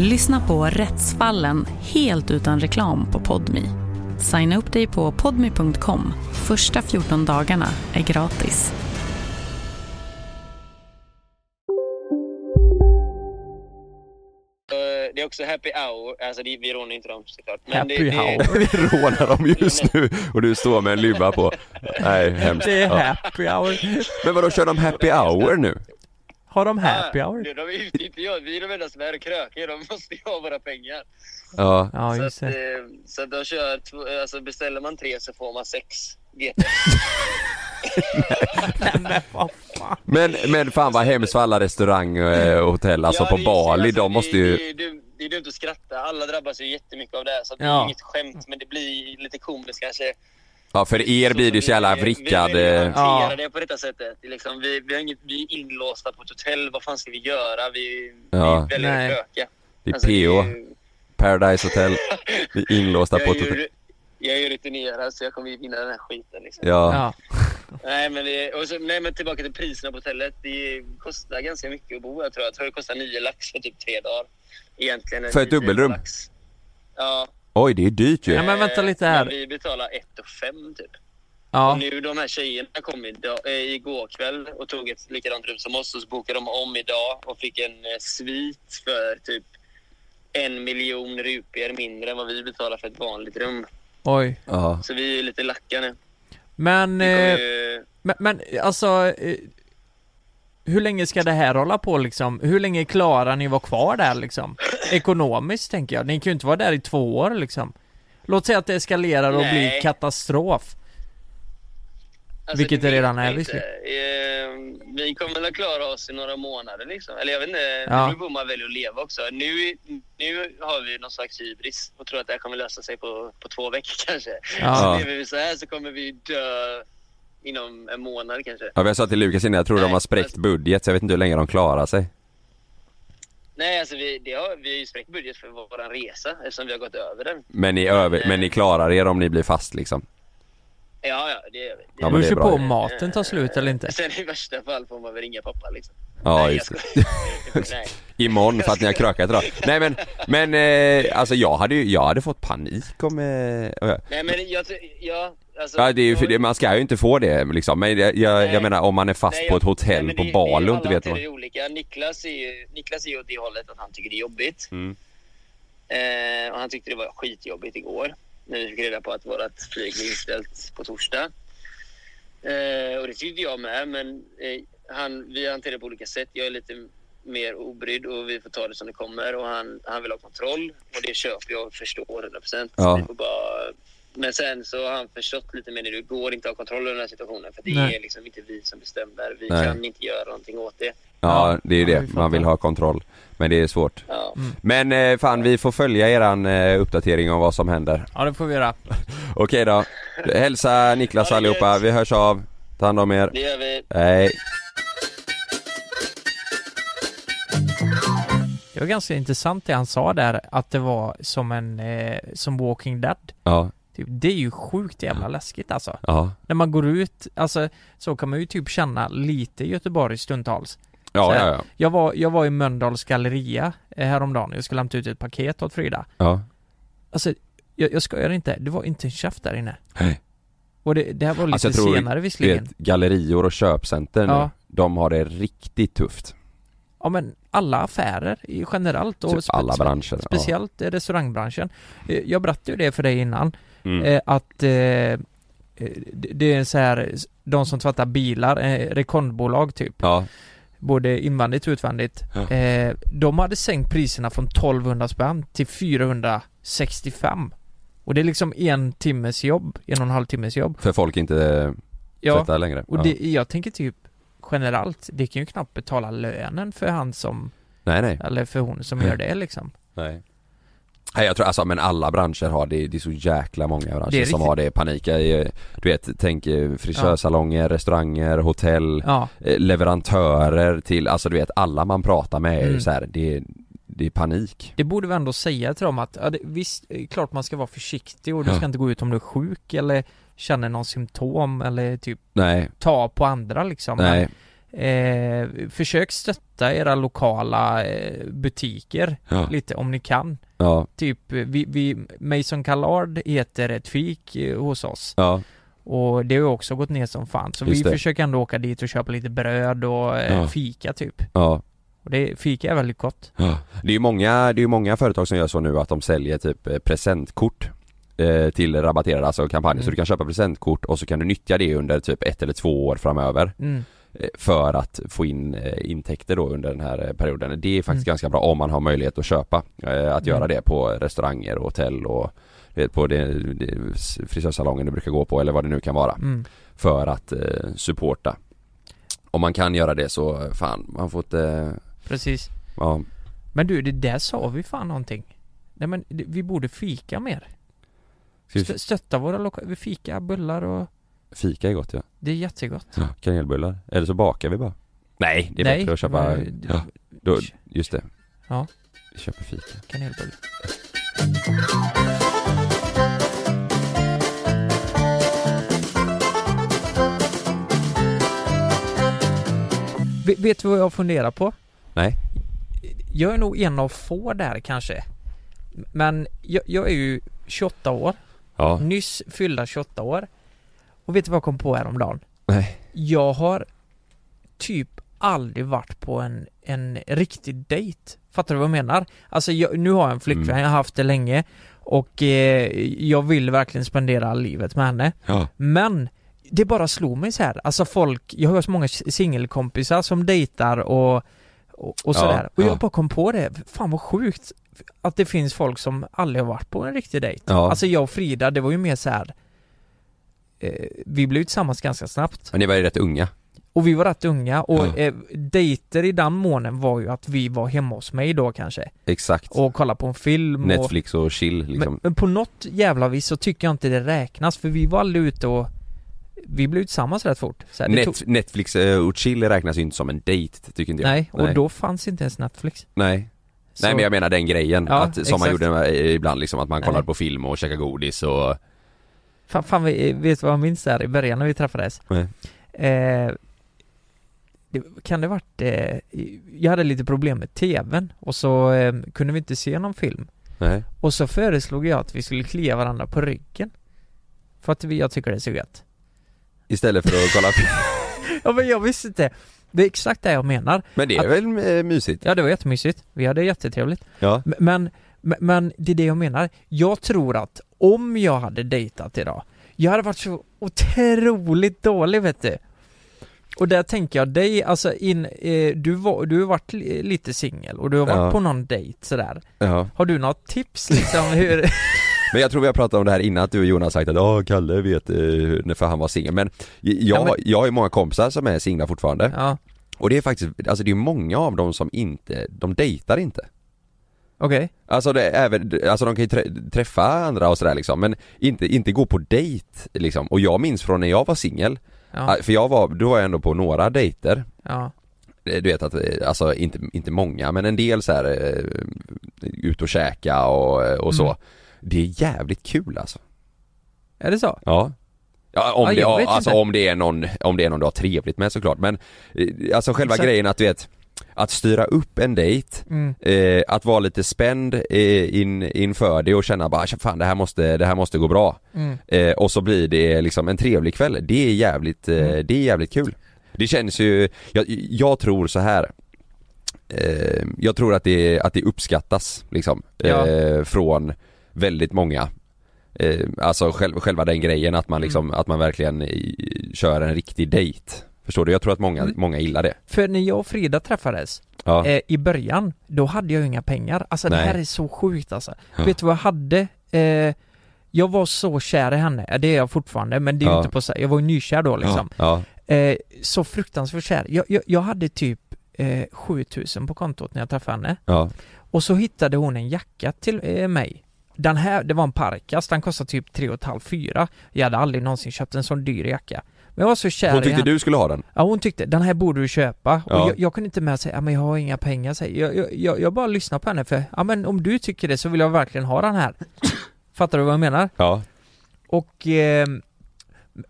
Speaker 6: Lyssna på Rättsfallen helt utan reklam på Podmi. Signa upp dig på podmi.com. Första 14 dagarna är gratis.
Speaker 5: Eh, Det är också happy hour, alltså det, vi rånar inte dem såklart. det,
Speaker 3: Happy
Speaker 5: det,
Speaker 3: hour.
Speaker 2: Vi rånar dem just nu och du står med en luva på. Nej, hemskt.
Speaker 3: Det är
Speaker 2: Ja.
Speaker 3: happy hour.
Speaker 2: Men vadå, kör de happy hour nu?
Speaker 3: Har de
Speaker 5: Ja,
Speaker 3: happy hour?
Speaker 5: det- De utnyttjar jag, vi är de enda som är krökiga, de måste ju ha våra pengar.
Speaker 2: Ja.
Speaker 3: Ja,
Speaker 5: så,
Speaker 3: just
Speaker 5: att,
Speaker 3: det.
Speaker 5: eh, så att de kör, två- alltså beställer man tre så får man sex GT.
Speaker 3: Men vad fan.
Speaker 2: Men, men fan vad hemskt för alla restaurang eh, och hotell, alltså
Speaker 5: Ja,
Speaker 2: på
Speaker 5: det är-
Speaker 2: Bali,
Speaker 5: alltså,
Speaker 2: de måste ju...
Speaker 5: Det, det, det, det är dumt att skratta, alla drabbas ju jättemycket av det här, så att det
Speaker 3: Ja.
Speaker 5: är inget skämt men det blir lite komiskt kanske.
Speaker 2: Ja, för er blir det ju så jävla vrickad...
Speaker 5: Vi, vi,
Speaker 2: eh,
Speaker 5: hanterar Alltså, det alltså, på detta sättet. Det är Liksom, vi, vi, har inget, vi är inlåsta på ett hotell, vad fan ska vi göra? Vi,
Speaker 2: Ja.
Speaker 5: vi väljer
Speaker 3: Nej.
Speaker 5: att kröka.
Speaker 2: Det är
Speaker 5: Alltså,
Speaker 2: PO.
Speaker 5: det är ju-
Speaker 2: Paradise Hotel. Vi är inlåsta
Speaker 5: Jag
Speaker 2: på ett
Speaker 5: är,
Speaker 2: hotell.
Speaker 5: ju, jag är ju rutinerad så jag kommer ju vinna den här skiten liksom.
Speaker 2: Ja.
Speaker 3: Ja.
Speaker 5: Nej men, det, och så, nej men tillbaka till priserna på hotellet. Det kostar ganska mycket att bo här tror jag. Jag tror det kostar nio lax för typ tre dagar. Egentligen är
Speaker 2: För ett
Speaker 5: det nio
Speaker 2: dubbelrum?
Speaker 5: lax. Ja.
Speaker 2: Oj, det är dyrt
Speaker 3: Ja,
Speaker 2: ju.
Speaker 3: men vänta
Speaker 5: eh,
Speaker 3: lite här.
Speaker 5: men Vi betalar ett och fem typ. Och
Speaker 3: Ja.
Speaker 5: nu de här tjejerna kom idag, eh, igår kväll och tog ett likadant rum som oss och så bokade de om idag och fick en eh, svit för typ en miljon rupier mindre än vad vi betalar för ett vanligt rum.
Speaker 3: Oj.
Speaker 2: Ja.
Speaker 5: Så vi är ju lite lacka nu.
Speaker 3: Men,
Speaker 5: Vi kommer
Speaker 3: eh,
Speaker 5: ju-
Speaker 3: men, men alltså. eh, Hur länge ska det här hålla på liksom? Hur länge klarar ni vara kvar där liksom? Ekonomiskt tänker jag. Ni kan ju inte vara där i två år liksom. Låt säga att det eskalerar och blir
Speaker 5: Nej.
Speaker 3: katastrof.
Speaker 5: Alltså,
Speaker 3: Vilket det
Speaker 5: vet
Speaker 3: redan är,
Speaker 5: jag inte.
Speaker 3: liksom.
Speaker 5: Eh, vi kommer väl att klara oss i några månader liksom. Eller jag vet inte,
Speaker 3: Ja.
Speaker 5: ja. nu bor man väl att leva också. Nu, nu har vi någon slags hybris och tror att det här kommer lösa sig på, på två veckor kanske.
Speaker 3: Ja.
Speaker 5: Så lever vi så här så kommer vi dö inom en månad kanske.
Speaker 2: Ja, men jag sa till Lukas innan, jag tror de
Speaker 5: Nej,
Speaker 2: har spräckt
Speaker 5: alltså-
Speaker 2: budget så jag vet inte hur länge de klarar sig.
Speaker 5: Nej, alltså vi, det har, vi har ju spräckt budget för vår resa eftersom vi har gått över den.
Speaker 2: Men ni, över, men ni klarar er om ni blir fast liksom.
Speaker 5: Ja, ja, det gör vi.
Speaker 2: Ja,
Speaker 5: Det
Speaker 3: Det
Speaker 5: gör
Speaker 2: men
Speaker 3: beror
Speaker 2: det är
Speaker 3: ju
Speaker 2: bra.
Speaker 3: på om maten tar slut eller inte.
Speaker 5: vi. Sen i värsta fall får man väl ringa pappa liksom.
Speaker 2: Ja,
Speaker 5: Nej,
Speaker 2: just
Speaker 5: jag
Speaker 2: det.
Speaker 5: skojar. Nej.
Speaker 2: Imorgon för att ni har krökat idag. Nej men, men eh, alltså jag hade ju, jag hade fått panik om... Eh, om jag-
Speaker 5: Nej, men jag tror, ja. Alltså,
Speaker 2: ja, det är ju, för
Speaker 5: jag-
Speaker 2: det, man ska ju inte få det liksom. Men jag, jag, jag
Speaker 5: Nej.
Speaker 2: menar om man är fast
Speaker 5: Nej,
Speaker 2: på
Speaker 5: jag-
Speaker 2: ett hotell
Speaker 5: nej,
Speaker 2: på
Speaker 5: men
Speaker 2: Bali och inte vet
Speaker 5: Det är
Speaker 2: vad...
Speaker 5: alla hoteller är olika. Niklas är ju Niklas är ju åt det hållet att han tycker det är jobbigt.
Speaker 2: Mm.
Speaker 5: Eh, och han tyckte det var skitjobbigt igår. När vi fick reda på att vårt flyg blev inställt på torsdag. Eh, och det tyckte jag med, men eh, han, vi hanterar det på olika sätt. Jag är lite mer obrydd och vi får ta det som det kommer. Och han, han vill ha kontroll och det köper jag och förstår 100 procent.
Speaker 2: Ja.
Speaker 5: bara... Men sen så har han förstått lite mer nu. Det går inte att ha kontroll över den här situationen för det
Speaker 3: Nej.
Speaker 5: är liksom inte vi som bestämmer. Vi
Speaker 2: Nej.
Speaker 5: kan inte göra någonting åt det.
Speaker 2: Ja, det är ju
Speaker 3: Ja, vi
Speaker 2: det.
Speaker 3: fattar.
Speaker 2: Man vill ha kontroll. Men det är svårt.
Speaker 5: Ja.
Speaker 2: Men eh, fan, vi får följa eran eh, uppdatering om vad som händer.
Speaker 3: Ja det får vi göra.
Speaker 2: Okej då. Hälsa Niklas
Speaker 5: Ha det
Speaker 2: allihopa.
Speaker 5: gött.
Speaker 2: Vi hörs av. Ta hand om er.
Speaker 5: Det gör vi.
Speaker 2: Hej.
Speaker 3: Det var ganska intressant det han sa där, att det var som en, eh, som Walking Dead.
Speaker 2: Ja.
Speaker 3: Typ, det är ju sjukt jävla läskigt alltså.
Speaker 2: Ja.
Speaker 3: När man går ut, alltså så kan man ju typ känna lite Göteborg stundtals.
Speaker 2: Ja,
Speaker 3: Så här,
Speaker 2: ja, ja.
Speaker 3: Jag var, jag var i Mölndals galleria eh, häromdagen, jag skulle hämta ut ett paket åt Frida.
Speaker 2: Ja.
Speaker 3: Alltså, jag, jag skojar inte, det var inte en käft där inne.
Speaker 2: Nej.
Speaker 3: Och det, det här var lite
Speaker 2: Alltså jag tror,
Speaker 3: senare
Speaker 2: du
Speaker 3: visserligen.
Speaker 2: vet, gallerior och köpcenter nu,
Speaker 3: Ja.
Speaker 2: de har det riktigt tufft.
Speaker 3: Ja men alla affärer i- generellt och
Speaker 2: Typ alla branscher, ja.
Speaker 3: Speciellt ja. restaurangbranschen Eh, Jag berättade ju det för dig innan
Speaker 2: Mm.
Speaker 3: eh, Att eh, eh, det- Det är så här De som tvättar bilar, eh, rekondbolag typ
Speaker 2: Ja.
Speaker 3: Både invändigt och utvändigt
Speaker 2: Ja.
Speaker 3: eh, De hade sänkt priserna från 1200 spänn till 465 Och det är liksom en timmes jobb, en och en halv timmes jobb
Speaker 2: För folk inte ja. tvättar längre.
Speaker 3: och
Speaker 2: Ja.
Speaker 3: det, jag tänker typ generellt, det kan ju knappt betala lönen för han som
Speaker 2: Nej, nej.
Speaker 3: Eller för hon som gör det liksom
Speaker 2: Nej. Nej jag tror alltså, men alla branscher har det, det är så jäkla många branscher
Speaker 3: Det är
Speaker 2: som
Speaker 3: riktigt-
Speaker 2: har det panik. Eh, Du vet, tänk eh, frisörsalonger, restauranger, hotell,
Speaker 3: Ja.
Speaker 2: eh, leverantörer till, alltså du vet alla man pratar med är ju
Speaker 3: Mm.
Speaker 2: så här, det, är- det är panik.
Speaker 3: Det borde vi ändå säga till dem att, ja, det, visst, eh, klart man ska vara försiktig och du ska
Speaker 2: Ja.
Speaker 3: inte gå ut om du är sjuk eller känner någon symptom eller typ
Speaker 2: Nej.
Speaker 3: ta på andra liksom
Speaker 2: Nej.
Speaker 3: Men, eh, Försök stötta era lokala eh, butiker
Speaker 2: Ja.
Speaker 3: lite om ni kan
Speaker 2: Ja.
Speaker 3: Typ, eh, vi, vi, Mason Callard heter ett fik eh, hos oss
Speaker 2: Ja.
Speaker 3: Och det har ju också gått ner som fan så
Speaker 2: Just
Speaker 3: vi
Speaker 2: det.
Speaker 3: försöker ändå åka dit och köpa lite bröd och eh,
Speaker 2: Ja.
Speaker 3: fika typ
Speaker 2: Ja.
Speaker 3: Och det, fika är väldigt gott
Speaker 2: Ja. Det är ju många, det är ju många företag som gör så nu att de säljer typ eh, presentkort eh, till rabatterade, alltså kampanjer. Så
Speaker 3: Mm.
Speaker 2: du kan köpa presentkort och så kan du nyttja det under typ ett eller två år framöver.
Speaker 3: Mm.
Speaker 2: Eh, För att få in eh, intäkter då under den här eh, perioden. Det är faktiskt ganska bra om man har möjlighet att köpa. eh, Att göra
Speaker 3: Mm.
Speaker 2: det på restauranger och hotell och du vet, på det, det, frisörsalongen du brukar gå på eller vad det nu kan vara.
Speaker 3: Mm.
Speaker 2: För att eh, supporta. Om man kan göra det så eh, fan, man får inte...
Speaker 3: Precis
Speaker 2: Ja,
Speaker 3: Men du, det där sa vi fan någonting Nej men det- vi borde fika mer
Speaker 2: Ska vi-
Speaker 3: Stö- Stötta våra lokala, fika, bullar och
Speaker 2: fika är gott ja.
Speaker 3: Det är jättegott
Speaker 2: Ja, kanelbullar. Eller så bakar vi bara. Nej, det är
Speaker 3: Nej,
Speaker 2: bättre att köpa...
Speaker 3: men-
Speaker 2: Ja, då, just det.
Speaker 3: Ja.
Speaker 2: Vi köper fika.
Speaker 3: Kanelbulle Ve- Vet du vad jag funderar på?
Speaker 2: Nej.
Speaker 3: Jag är nog en av få där kanske Men jag, jag är ju 28 år
Speaker 2: Ja.
Speaker 3: Nyss fyllda 28 år Och vet du vad jag kom på häromdagen?
Speaker 2: Nej.
Speaker 3: Jag har typ aldrig varit på en, en riktig dejt Fattar du vad jag menar? Alltså jag, nu har jag en flickvän,
Speaker 2: Mm.
Speaker 3: jag har haft det länge Och eh, jag vill verkligen spendera livet med henne
Speaker 2: Ja.
Speaker 3: Men det bara slog mig så här. alltså folk, jag har så många singelkompisar som dejtar och och, och
Speaker 2: Ja,
Speaker 3: sådär. och jag
Speaker 2: ja.
Speaker 3: bara kom på det, fan vad sjukt att det finns folk som aldrig har varit på en riktig dejt.
Speaker 2: Ja.
Speaker 3: Alltså jag och Frida, det var ju mer så här. Eh, vi blev ju tillsammans ganska snabbt
Speaker 2: Men ni var ju rätt unga.
Speaker 3: och vi var rätt unga och
Speaker 2: Ja.
Speaker 3: eh, dejter i den månen var ju att vi var hemma hos mig då kanske
Speaker 2: Exakt.
Speaker 3: och kollade på en film och,
Speaker 2: Netflix och chill liksom.
Speaker 3: men, men på något jävla vis så tycker jag inte det räknas för vi var aldrig ute och vi blev ju tillsammans rätt fort. Så här, det
Speaker 2: Net,
Speaker 3: tog-
Speaker 2: Netflix eh, och chill räknas ju inte som en dejt, tycker inte jag.
Speaker 3: nej, och då fanns inte ens Netflix.
Speaker 2: Nej.
Speaker 3: Så-
Speaker 2: Nej men jag menar den grejen,
Speaker 3: Ja,
Speaker 2: att, som man
Speaker 3: exakt.
Speaker 2: gjorde eh, ibland liksom, att man kollade
Speaker 3: Nej.
Speaker 2: på film och käkade godis och...
Speaker 3: Fan, fan vi, eh, vet du vad jag minns där i början när vi träffades?
Speaker 2: Nej.
Speaker 3: Eh, det, kan det varit... Eh, jag hade lite problem med tvn och så eh, kunde vi inte se någon film.
Speaker 2: Nej.
Speaker 3: Och så föreslog jag att vi skulle klia varandra på ryggen. För att vi, jag tycker det är så gött.
Speaker 2: Istället för att kolla film.
Speaker 3: Ja men jag visste inte. Det är exakt det jag menar.
Speaker 2: Men det är
Speaker 3: Att-
Speaker 2: väl eh, mysigt?
Speaker 3: Ja det var jättemysigt. Vi hade jättetrevligt.
Speaker 2: Ja.
Speaker 3: M- Men, men, men det är det jag menar. Jag tror att om jag hade dejtat idag, jag hade varit så otroligt dålig vet du. Och där tänker jag dig, alltså in, eh, du, var, du har varit li- lite singel och du har varit
Speaker 2: Ja.
Speaker 3: på någon dejt sådär.
Speaker 2: Ja.
Speaker 3: Har du något tips liksom hur,
Speaker 2: Men jag tror vi har pratat om det här innan att du och Jonas sagt att ja Kalle vet eh, hur- för han var singel men jag,
Speaker 3: Ja, men-
Speaker 2: jag har ju många kompisar som är singlar fortfarande
Speaker 3: Ja.
Speaker 2: Och det är faktiskt, alltså det är många av dem som inte, de dejtar inte
Speaker 3: okej?
Speaker 2: Alltså det, är även, alltså de kan ju trä- träffa andra och sådär liksom men inte, inte gå på dejt liksom och jag minns från när jag var singel
Speaker 3: Ja.
Speaker 2: För jag var, då var jag ändå på några dejter
Speaker 3: Ja.
Speaker 2: Eh, du vet att, eh, alltså inte, inte många men en del så här eh, ut och käka och, och så
Speaker 3: Mm.
Speaker 2: Det är jävligt kul alltså
Speaker 3: Är det så?
Speaker 2: Ja. Ja, om,
Speaker 3: Ja,
Speaker 2: det,
Speaker 3: jag vet
Speaker 2: ja, alltså,
Speaker 3: inte.
Speaker 2: om, det är någon, om det är någon du har trevligt med såklart men eh, Alltså själva
Speaker 3: Exakt.
Speaker 2: grejen att du vet Att styra upp en dejt
Speaker 3: Mm.
Speaker 2: eh, Att vara lite spänd eh, in, inför det och känna bara fan det här måste, det här måste gå bra
Speaker 3: Mm.
Speaker 2: eh, Och så blir det liksom en trevlig kväll, det är jävligt, eh,
Speaker 3: Mm.
Speaker 2: det är jävligt kul Det känns ju, jag, jag tror så här eh, Jag tror att det, att det uppskattas liksom
Speaker 3: Ja.
Speaker 2: eh, från väldigt många eh, Alltså själv, själva den grejen att man liksom,
Speaker 3: Mm.
Speaker 2: att man verkligen eh, kör en riktig dejt Förstår du? Jag tror att många,
Speaker 3: Mm.
Speaker 2: många gillar det
Speaker 3: För när jag och Frida träffades
Speaker 2: Ja.
Speaker 3: eh, i början, då hade jag ju inga pengar. Alltså det
Speaker 2: Nej.
Speaker 3: här är så sjukt alltså.
Speaker 2: Ja.
Speaker 3: Vet du vad jag hade? Eh, jag var så kär i henne, Ja, det är jag fortfarande men det är ju
Speaker 2: Ja.
Speaker 3: inte på sig. jag var ju nykär då liksom.
Speaker 2: Ja,
Speaker 3: Eh, så fruktansvärt kär. Jag, jag, jag hade typ eh, 7000 på kontot när jag träffade henne.
Speaker 2: ja,
Speaker 3: Och så hittade hon en jacka till eh, mig. Den här, det var en parkas, den kostade typ 3,5-4. Jag hade aldrig någonsin köpt en sån dyr jacka. Men jag var så kär
Speaker 2: Hon
Speaker 3: i
Speaker 2: tyckte
Speaker 3: henne.
Speaker 2: du skulle ha den?
Speaker 3: Ja hon tyckte, den här borde du köpa.
Speaker 2: Ja.
Speaker 3: Och jag, jag kunde inte med att säga, "Ja, men jag har inga pengar säger jag. Jag, jag, jag bara lyssnar på henne för, ja men om du tycker det så vill jag verkligen ha den här. Fattar du vad jag menar?
Speaker 2: Ja
Speaker 3: Och, eh, men,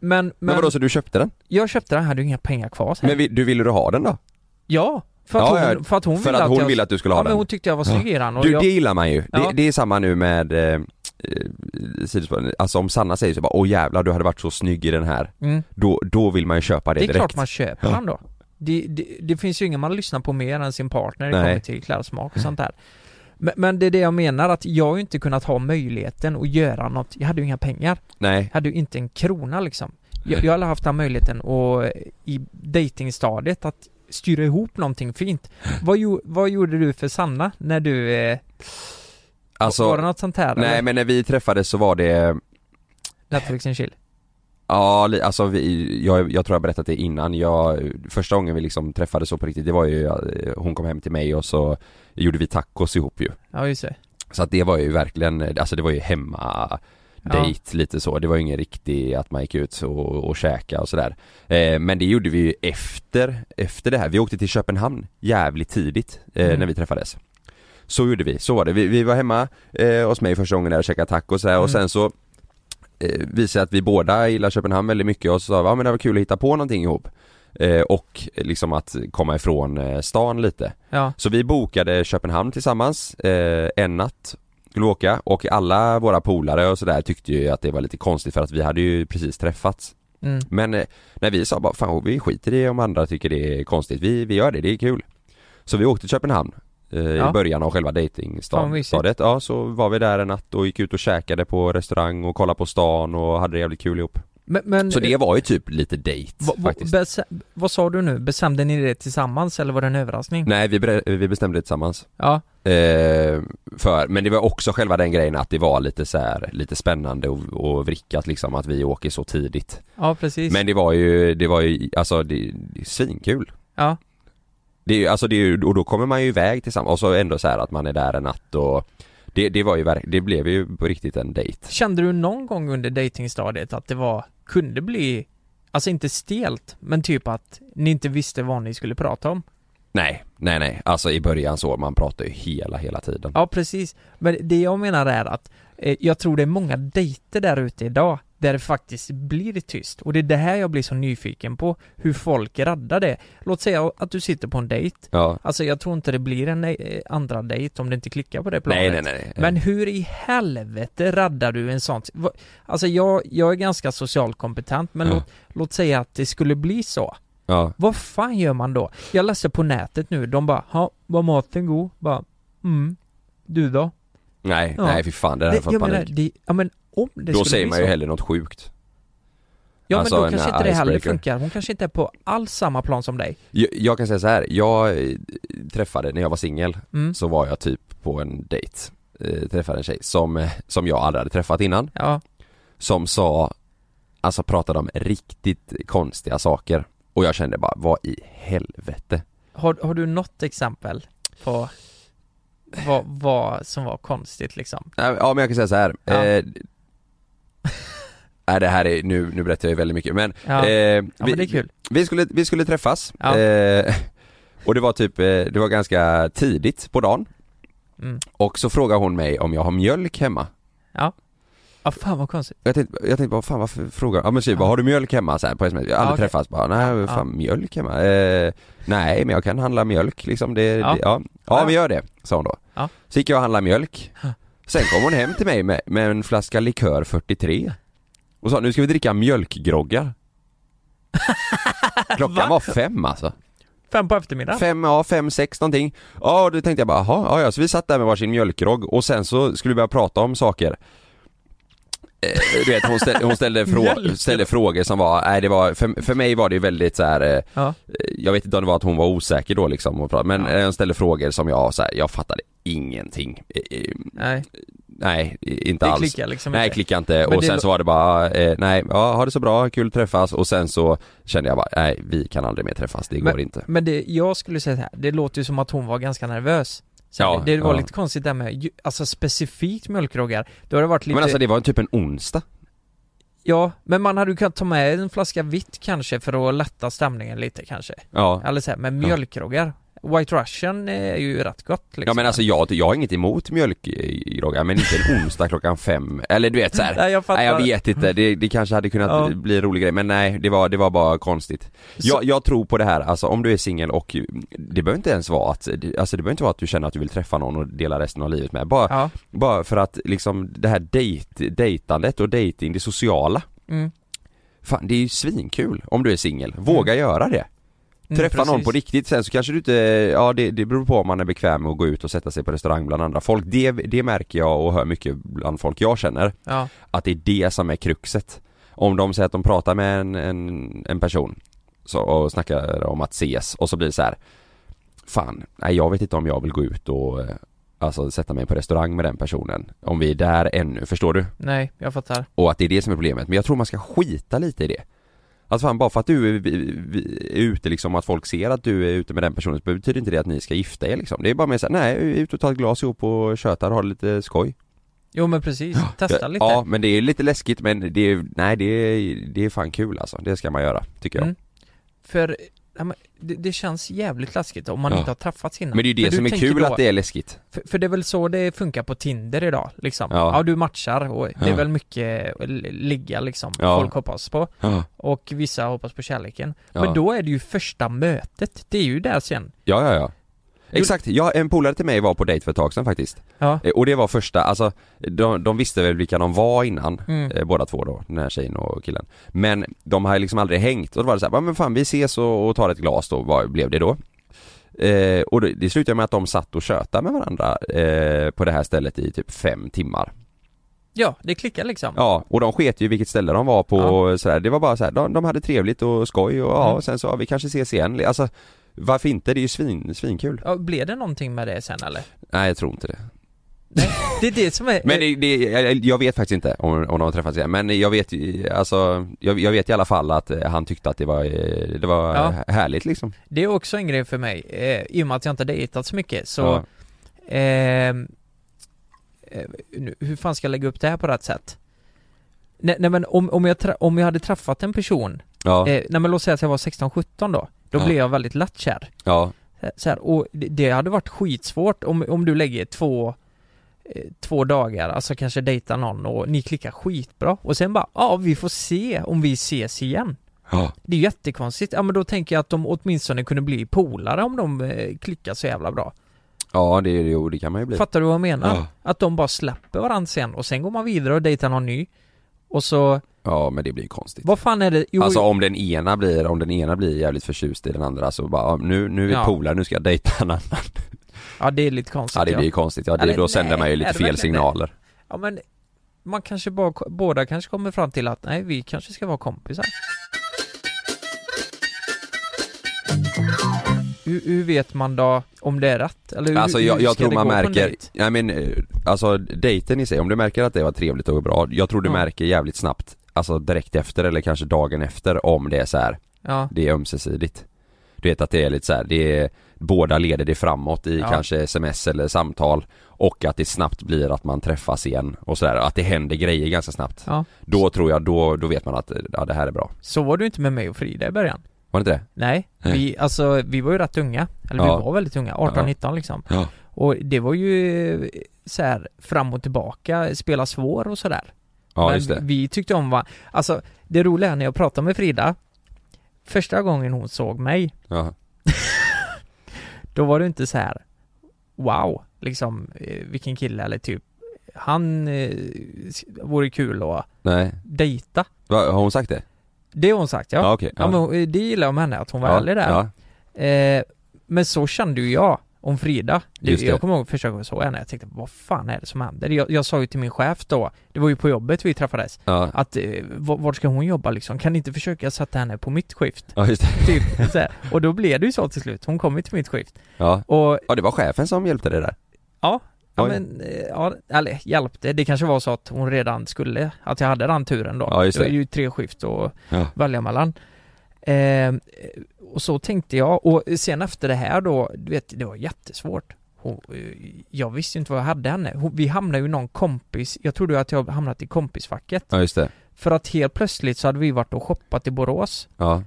Speaker 3: men...
Speaker 2: Men vadå, så du köpte den?
Speaker 3: Jag köpte den, hade ju inga pengar kvar sen.
Speaker 2: Men vi, du ville du ha den då?
Speaker 3: Ja! För att,
Speaker 2: Ja, ja,
Speaker 3: hon, för att hon
Speaker 2: för
Speaker 3: ville
Speaker 2: att hon
Speaker 3: jag,
Speaker 2: ville att du skulle ha
Speaker 3: ja,
Speaker 2: den.
Speaker 3: Men hon tyckte jag var snygg i den och
Speaker 2: Du,
Speaker 3: jag,
Speaker 2: det gillar man ju.
Speaker 3: Ja.
Speaker 2: Det, det är samma nu med eh, eh, sidospår. Alltså om Sanna säger så bara åh jävlar du hade varit så snygg i den här.
Speaker 3: Mm.
Speaker 2: Då, då vill man ju köpa det,
Speaker 3: det är
Speaker 2: direkt.
Speaker 3: klart man köper
Speaker 2: Ja.
Speaker 3: den då. Det, det, det finns ju ingen man lyssnar på mer än sin partner när det
Speaker 2: Nej.
Speaker 3: kommer till klädsmak och sånt där. Men, men det är det jag menar, att jag har ju inte kunnat ha möjligheten att göra något. Jag hade ju inga pengar.
Speaker 2: Nej.
Speaker 3: Jag hade ju inte en krona liksom. Jag, jag har aldrig haft den möjligheten och i datingstadiet att styra ihop någonting fint. Vad, gjo- vad gjorde du för Sanna när du... Eh,
Speaker 2: Alltså,
Speaker 3: var det något sånt här?
Speaker 2: nej
Speaker 3: eller?
Speaker 2: men när vi träffades så var det
Speaker 3: Netflix and chill?
Speaker 2: Ja, li- alltså vi, jag, jag tror jag berättat det innan. Jag, första gången vi liksom träffades så på riktigt, det var ju, eh, hon kom hem till mig och så gjorde vi tacos ihop ju.
Speaker 3: Ja just det.
Speaker 2: Så att det var ju verkligen, alltså det var ju hemma dejt lite så, det var ju ingen riktig att man gick ut och, och käka och sådär eh, Men det gjorde vi ju efter, efter det här, vi åkte till Köpenhamn jävligt tidigt eh,
Speaker 3: Mm.
Speaker 2: när vi träffades Så gjorde vi, så var det, vi, vi var hemma eh, hos mig första gången där och käkade tacos här, och
Speaker 3: Mm.
Speaker 2: sen så eh, visade att vi båda gillar Köpenhamn väldigt mycket och så sa vi, ja men det var kul att hitta på någonting ihop eh, Och liksom att komma ifrån eh, stan lite
Speaker 3: Ja.
Speaker 2: så vi bokade Köpenhamn tillsammans eh, en natt skulle vi åka och alla våra polare och sådär tyckte ju att det var lite konstigt för att vi hade ju precis träffats
Speaker 3: Mm.
Speaker 2: Men eh, när vi sa bara fan vi skiter i om andra tycker det är konstigt, vi, vi gör det, det är kul Så vi åkte till Köpenhamn eh,
Speaker 3: Ja.
Speaker 2: i början av själva
Speaker 3: Fan, mysigt.
Speaker 2: dejtingstadiet Ja så var vi där en natt och gick ut och käkade på restaurang och kollade på stan och hade det jävligt kul ihop
Speaker 3: Men, men eh,
Speaker 2: Så det var ju typ lite dejt
Speaker 3: Va- va-
Speaker 2: faktiskt
Speaker 3: besä- vad sa du nu? Bestämde ni det tillsammans eller var det en överraskning?
Speaker 2: Nej vi, bre- vi bestämde det tillsammans
Speaker 3: Ja,
Speaker 2: Eh, för, men det var också själva den grejen att det var lite så här, lite spännande och, och vrickat liksom att vi åker så tidigt.
Speaker 3: ja precis.
Speaker 2: Men det var ju, det var ju, alltså det, det är svinkul.
Speaker 3: Ja.
Speaker 2: Det är ju, alltså det är ju, och då kommer man ju iväg tillsammans och så ändå så här att man är där en natt och det, det var ju verk, det blev ju på riktigt en dejt.
Speaker 3: Kände du någon gång under datingstadiet att det var, kunde bli, alltså inte stelt, men typ att ni inte visste vad ni skulle prata om?
Speaker 2: Nej, nej nej, alltså i början så, man pratar ju hela, hela tiden.
Speaker 3: Ja precis, men det jag menar är att eh, jag tror det är många dejter där ute idag där det faktiskt blir tyst och det är det här jag blir så nyfiken på, hur folk raddar det. Låt säga att du sitter på en dejt,
Speaker 2: Ja.
Speaker 3: alltså jag tror inte det blir en eh, andra dejt om det inte klickar på det planet.
Speaker 2: Nej, nej, nej.
Speaker 3: Men hur i helvete raddar du en sån? Va- Alltså jag, jag är ganska socialt kompetent men
Speaker 2: Ja.
Speaker 3: låt, låt säga att det skulle bli så.
Speaker 2: Ja.
Speaker 3: Vad fan gör man då? Jag läste på nätet nu, de bara ha, var maten god?” Bara ”Mm, du då?”
Speaker 2: Nej,
Speaker 3: Ja.
Speaker 2: nej fy fan det där har jag fått
Speaker 3: jag menar,
Speaker 2: panik.
Speaker 3: det, ja men om
Speaker 2: Då
Speaker 3: det skulle
Speaker 2: säger
Speaker 3: bli
Speaker 2: man
Speaker 3: så.
Speaker 2: ju hellre något sjukt.
Speaker 3: Ja
Speaker 2: Alltså,
Speaker 3: men då
Speaker 2: en
Speaker 3: kanske inte det heller
Speaker 2: icebreaker.
Speaker 3: funkar, hon kanske inte är på alls samma plan som dig.
Speaker 2: Jag, jag kan säga så här. jag eh, träffade, när jag var singel,
Speaker 3: Mm.
Speaker 2: så var jag typ på en dejt eh, Träffade en tjej som, eh, som jag aldrig hade träffat innan
Speaker 3: Ja.
Speaker 2: Som sa, alltså pratade om riktigt konstiga saker Och jag kände bara, vad i helvete?
Speaker 3: Har, har du något exempel på vad, vad som var konstigt liksom?
Speaker 2: Nej, Ja men jag kan säga så här.
Speaker 3: Ja.
Speaker 2: Eh, Nej det här är, nu, nu berättar jag ju väldigt mycket men,
Speaker 3: Ja.
Speaker 2: eh,
Speaker 3: Ja,
Speaker 2: vi,
Speaker 3: men det är kul.
Speaker 2: vi, skulle, vi skulle träffas
Speaker 3: Ja.
Speaker 2: eh, och det var typ, eh, det var ganska tidigt på dagen
Speaker 3: Mm.
Speaker 2: Och så frågar hon mig om jag har mjölk hemma
Speaker 3: Ja. Ja, fan vad konstigt.
Speaker 2: Jag tänkte, jag tänkte bara, fan varför frågar Ja men typ, bara, har du mjölk hemma? Så här, på sms, jag har aldrig
Speaker 3: Ja, okej.
Speaker 2: träffats bara, nej
Speaker 3: Ja.
Speaker 2: fan mjölk hemma? Eh, nej men jag kan handla mjölk liksom, det, ja.
Speaker 3: Ja.
Speaker 2: Det, ja. ja men gör det, sa hon då.
Speaker 3: Ja.
Speaker 2: Så gick jag och handlade mjölk, sen kom hon hem till mig med, med en flaska likör 43 och sa, nu ska vi dricka mjölkgroggar. Klockan var fem alltså.
Speaker 3: Fem på eftermiddagen?
Speaker 2: Fem, ja, fem, sex någonting. Ja, då tänkte jag bara, jaha, ja, ja, så vi satt där med varsin mjölkgrogg och sen så skulle vi börja prata om saker. Eh, Du vet, hon ställde, hon ställde, frå,
Speaker 3: Mjölk.
Speaker 2: ställde frågor som var, nej det var, för, för mig var det ju väldigt så här. eh,
Speaker 3: Ja.
Speaker 2: jag vet inte om det var att hon var osäker då liksom, och prat- men eh, hon ställde frågor som jag så här, jag fattade ingenting. Eh, eh,
Speaker 3: Nej.
Speaker 2: Nej, i- inte
Speaker 3: Det
Speaker 2: alls.
Speaker 3: klickar liksom
Speaker 2: nej,
Speaker 3: inte.
Speaker 2: klicka inte.
Speaker 3: Men
Speaker 2: Och
Speaker 3: det
Speaker 2: sen
Speaker 3: lå-
Speaker 2: så var det bara, eh, nej, ja, ha det så bra, kul att träffas. Och sen så kände jag bara, nej, vi kan aldrig mer träffas, det går inte.
Speaker 3: Men det, jag skulle säga så här, det låter ju som att hon var ganska nervös. Så
Speaker 2: Ja,
Speaker 3: det, det var
Speaker 2: ja.
Speaker 3: lite konstigt där med, ju- alltså specifikt mjölkroggar. Då har det varit lite,
Speaker 2: Men alltså det var typ en onsdag.
Speaker 3: ja, men man hade ju kunnat ta med en flaska vitt kanske för att lätta stämningen lite kanske.
Speaker 2: Ja.
Speaker 3: Eller så här, men mjölkroggar. White Russian är ju rätt gott liksom.
Speaker 2: Ja men alltså jag, jag har inget emot mjölkgroggar men inte en onsdag klockan fem, eller du vet såhär,
Speaker 3: Nej, jag fattar.
Speaker 2: nej jag vet inte, det, det kanske hade kunnat
Speaker 3: Ja.
Speaker 2: bli en rolig grej men nej det var, det var bara konstigt. Jag, jag tror på det här, alltså om du är singel och det behöver inte ens vara att, det- alltså det behöver inte vara att du känner att du vill träffa någon och dela resten av livet med, bara,
Speaker 3: Ja.
Speaker 2: bara för att liksom det här dejt, dejtandet och dejting, det sociala,
Speaker 3: Mm.
Speaker 2: fan det är ju svinkul om du är singel, våga göra det.
Speaker 3: Mm,
Speaker 2: Träffa någon
Speaker 3: precis.
Speaker 2: på riktigt, sen så kanske du inte, ja det, det beror på om man är bekväm med att gå ut och sätta sig på restaurang bland andra folk. Det, det märker jag och hör mycket bland folk jag känner,
Speaker 3: Ja.
Speaker 2: att det är det som är kruxet. Om de säger att de pratar med en, en, en person så, och snackar om att ses och så blir det så här. Fan, nej jag vet inte om jag vill gå ut och eh, alltså sätta mig på restaurang med den personen. Om vi är där ännu, förstår du?
Speaker 3: Nej, jag fattar.
Speaker 2: Och att det är det som är problemet, men jag tror man ska skita lite i det Alltså fan, bara för att du är, är ute liksom, att folk ser att du är ute med den personen så betyder inte det att ni ska gifta er liksom Det är bara mer såhär, nej, ut och ta ett glas ihop och köta och ha lite skoj
Speaker 3: Jo men precis, testa lite.
Speaker 2: Ja, men det är lite läskigt men det är, nej det är, det är fan kul alltså, det ska man göra, tycker jag
Speaker 3: Mm. För ja, men det, det känns jävligt läskigt om man
Speaker 2: Ja.
Speaker 3: inte har träffats innan.
Speaker 2: Men det är ju det
Speaker 3: För du
Speaker 2: som är
Speaker 3: tänker
Speaker 2: kul
Speaker 3: då-
Speaker 2: att det är läskigt
Speaker 3: För, för det är väl så det funkar på Tinder idag liksom.
Speaker 2: Ja.
Speaker 3: Ja, du matchar och det är
Speaker 2: Ja.
Speaker 3: väl mycket li- ligga liksom,
Speaker 2: Ja.
Speaker 3: folk hoppas på.
Speaker 2: Ja.
Speaker 3: Och vissa hoppas på kärleken.
Speaker 2: Ja.
Speaker 3: Men då är det ju första mötet, det är ju där sen.
Speaker 2: Ja, ja, ja. Exakt, ja, en polare till mig var på dejt för ett tag sedan faktiskt.
Speaker 3: Ja.
Speaker 2: Eh, Och det var första, alltså de, de visste väl vilka de var innan,
Speaker 3: Mm.
Speaker 2: eh, båda två då, den här tjejen och killen. Men de hade liksom aldrig hängt och då var det så här, "Ja, men fan vi ses och, och tar ett glas då, vad blev det då? Eh, och det, det slutade med att de satt och tjötade med varandra eh, på det här stället i typ fem timmar.
Speaker 3: Ja, det klickar liksom.
Speaker 2: Ja, och de sket ju vilket ställe de var på och sådär. Det var bara såhär, de, de hade trevligt och skoj och ja,
Speaker 3: Mm.
Speaker 2: och sen så, ja, vi kanske ses igen. Alltså, varför inte? Det är ju svin, svinkul.
Speaker 3: Ja, blev det någonting med det sen eller?
Speaker 2: Nej, jag tror inte det.
Speaker 3: Det är det som är...
Speaker 2: Men det, det, jag- jag vet faktiskt inte om, om de har träffats igen, men jag vet ju- alltså, jag, jag vet i alla fall att eh, han tyckte att det var, eh, det var
Speaker 3: Ja.
Speaker 2: eh, härligt liksom.
Speaker 3: Det är också en grej för mig, eh, i och med att jag inte dejtat så mycket så
Speaker 2: Ja.
Speaker 3: ehm, eh, nu, Hur fan ska jag lägga upp det här på rätt sätt? Nej, nej men om, om, jag tra- om jag hade träffat en person
Speaker 2: Ja.
Speaker 3: eh, Nej men låt säga att jag var 16-17 då Då
Speaker 2: Ja.
Speaker 3: blev jag väldigt lättkär
Speaker 2: Ja,
Speaker 3: Eh, så här, och det, det hade varit skitsvårt om, om du lägger två eh, Två dagar, alltså kanske dejtar någon och ni klickar skitbra och sen bara ja vi får se om vi ses igen
Speaker 2: ja,
Speaker 3: det är jättekonstigt. Ja men då tänker jag att de åtminstone kunde bli polare om de eh, klickar så jävla bra.
Speaker 2: ja det, jo, det kan man ju bli.
Speaker 3: Fattar du vad jag menar?
Speaker 2: Ja.
Speaker 3: Att de bara släpper varandra sen och sen går man vidare och dejtar någon ny. Och så,
Speaker 2: Ja, men det blir ju konstigt.
Speaker 3: vad fan är det? Jo,
Speaker 2: alltså om den ena blir, om den ena blir jävligt förtjust i den andra så bara, ja, nu, nu är vi
Speaker 3: Ja.
Speaker 2: polare, nu ska jag dejta en annan.
Speaker 3: ja det är lite konstigt
Speaker 2: Ja det blir ju konstigt, ja, det,
Speaker 3: Eller,
Speaker 2: då sänder
Speaker 3: nej,
Speaker 2: man ju
Speaker 3: är
Speaker 2: lite
Speaker 3: det
Speaker 2: fel
Speaker 3: verkligen det?
Speaker 2: signaler.
Speaker 3: Ja men, man kanske bara, båda kanske kommer fram till att nej vi kanske ska vara kompisar. Hur, hur vet man då om det är rätt? Eller hur,
Speaker 2: Alltså jag,
Speaker 3: hur
Speaker 2: jag
Speaker 3: ska
Speaker 2: tror
Speaker 3: det
Speaker 2: man
Speaker 3: gå på en
Speaker 2: märker,
Speaker 3: dejt?
Speaker 2: nej men eh, alltså dejten i sig, om du märker att det var trevligt och bra, jag tror du
Speaker 3: Ja.
Speaker 2: märker jävligt snabbt, alltså direkt efter eller kanske dagen efter om det är så här.
Speaker 3: Ja.
Speaker 2: det är ömsesidigt. Du vet att det är lite så här, det är, båda leder det framåt i
Speaker 3: Ja.
Speaker 2: kanske sms eller samtal och att det snabbt blir att man träffas igen och sådär, att det händer grejer ganska snabbt.
Speaker 3: Ja.
Speaker 2: Då tror jag, då, då vet man att eh, ja, det här är bra.
Speaker 3: Så var du inte med mig och Frida i början?
Speaker 2: Var det inte det?
Speaker 3: Nej,
Speaker 2: Nej.
Speaker 3: vi, alltså, vi var ju rätt unga. Eller
Speaker 2: Ja.
Speaker 3: vi var väldigt unga, 18-19 liksom.
Speaker 2: Ja.
Speaker 3: Och det var ju eh, så här fram och tillbaka, spela svår och sådär.
Speaker 2: Ja,
Speaker 3: men
Speaker 2: just det.
Speaker 3: vi tyckte om varandra. Alltså, det roliga är när jag pratade med Frida, första gången hon såg mig,
Speaker 2: Ja.
Speaker 3: då var det inte så här wow, liksom eh, vilken kille eller typ han eh, s- vore kul att
Speaker 2: Nej.
Speaker 3: dejta.
Speaker 2: Va, har hon sagt det?
Speaker 3: Det har hon sagt ja.
Speaker 2: Ja, okej,
Speaker 3: ja.
Speaker 2: ja.
Speaker 3: men hon- det gillar jag med henne, att hon var
Speaker 2: Ja,
Speaker 3: ärlig där. Eh, men så kände ju jag om Frida. Det,
Speaker 2: Just det.
Speaker 3: Jag kommer ihåg första gången jag såg henne, jag tänkte vad fan är det som händer? Jag, jag sa ju till min chef då, det var ju på jobbet vi träffades,
Speaker 2: Ja.
Speaker 3: att eh, v- vart ska hon jobba liksom? Kan ni inte försöka sätta henne på mitt skift?
Speaker 2: Ja, just det.
Speaker 3: Typ, så här. Och då blev det ju så till slut, hon kom ju till mitt skift.
Speaker 2: Ja.
Speaker 3: Och,
Speaker 2: ja, det var chefen som hjälpte dig där.
Speaker 3: Ja, ja
Speaker 2: Oj.
Speaker 3: men, eh, ja, eller hjälpte, det kanske var så att hon redan skulle, att jag hade den turen då.
Speaker 2: Ja, just det.
Speaker 3: var ju tre skift att
Speaker 2: Ja.
Speaker 3: välja mellan. Eh, och så tänkte jag, och sen efter det här då, du vet, det var jättesvårt. Hon, eh, jag visste ju inte vad jag hade henne. Hon, vi hamnade ju i någon kompis, jag trodde ju att jag hamnat i kompisfacket.
Speaker 2: Ja, just det.
Speaker 3: För att helt plötsligt så hade vi varit och shoppat i Borås.
Speaker 2: Ja.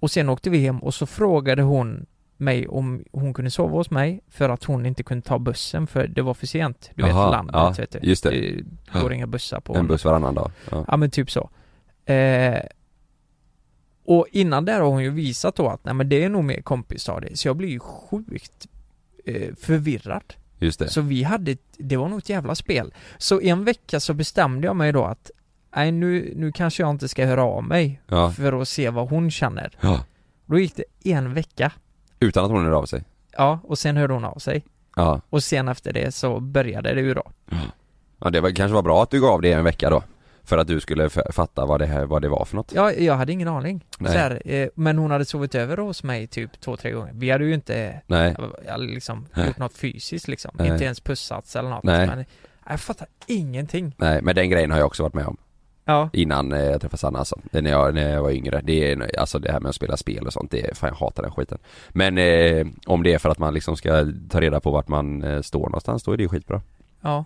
Speaker 3: Och sen åkte vi hem och så frågade hon mig om hon kunde sova hos mig för att hon inte kunde ta bussen för det var för sent. Du
Speaker 2: Jaha,
Speaker 3: vet landet
Speaker 2: ja,
Speaker 3: vet du.
Speaker 2: Just det.
Speaker 3: Det går inga bussar på.
Speaker 2: En buss varannan dag. Ja.
Speaker 3: Ja men typ så. Eh, och innan där har hon ju visat då att nej men det är nog mer kompisstadie. Så jag blir ju sjukt eh, förvirrad.
Speaker 2: Just det.
Speaker 3: Så vi hade, ett- det var nog ett jävla spel. Så en vecka så bestämde jag mig då att nej nu, nu kanske jag inte ska höra av mig
Speaker 2: Ja.
Speaker 3: för att se vad hon känner.
Speaker 2: Ja.
Speaker 3: Då gick det en vecka.
Speaker 2: Utan att hon hörde av sig.
Speaker 3: Ja, och sen hörde hon av sig.
Speaker 2: Ja.
Speaker 3: Och sen efter det så började det ju då.
Speaker 2: Ja, det var, kanske var bra att du gav det en vecka då. För att du skulle f- fatta vad det, här, vad det var för något.
Speaker 3: Ja, jag hade ingen aning. Så
Speaker 2: Nej.
Speaker 3: här, eh, men hon hade sovit över hos mig typ två, tre gånger. Vi hade ju inte
Speaker 2: Nej.
Speaker 3: eh, liksom,
Speaker 2: Nej.
Speaker 3: gjort något fysiskt liksom.
Speaker 2: Nej.
Speaker 3: Inte ens pussats eller något.
Speaker 2: Nej.
Speaker 3: Men jag fattar ingenting.
Speaker 2: Nej, men den grejen har jag också varit med om.
Speaker 3: Ja.
Speaker 2: Innan eh, jag träffade Sanna alltså. Det är När jag, när jag var yngre. Det är alltså det här med att spela spel och sånt. Det är, fan jag hatar den skiten. Men eh, om det är för att man liksom ska ta reda på vart man eh, står någonstans. Då är det skitbra.
Speaker 3: Ja.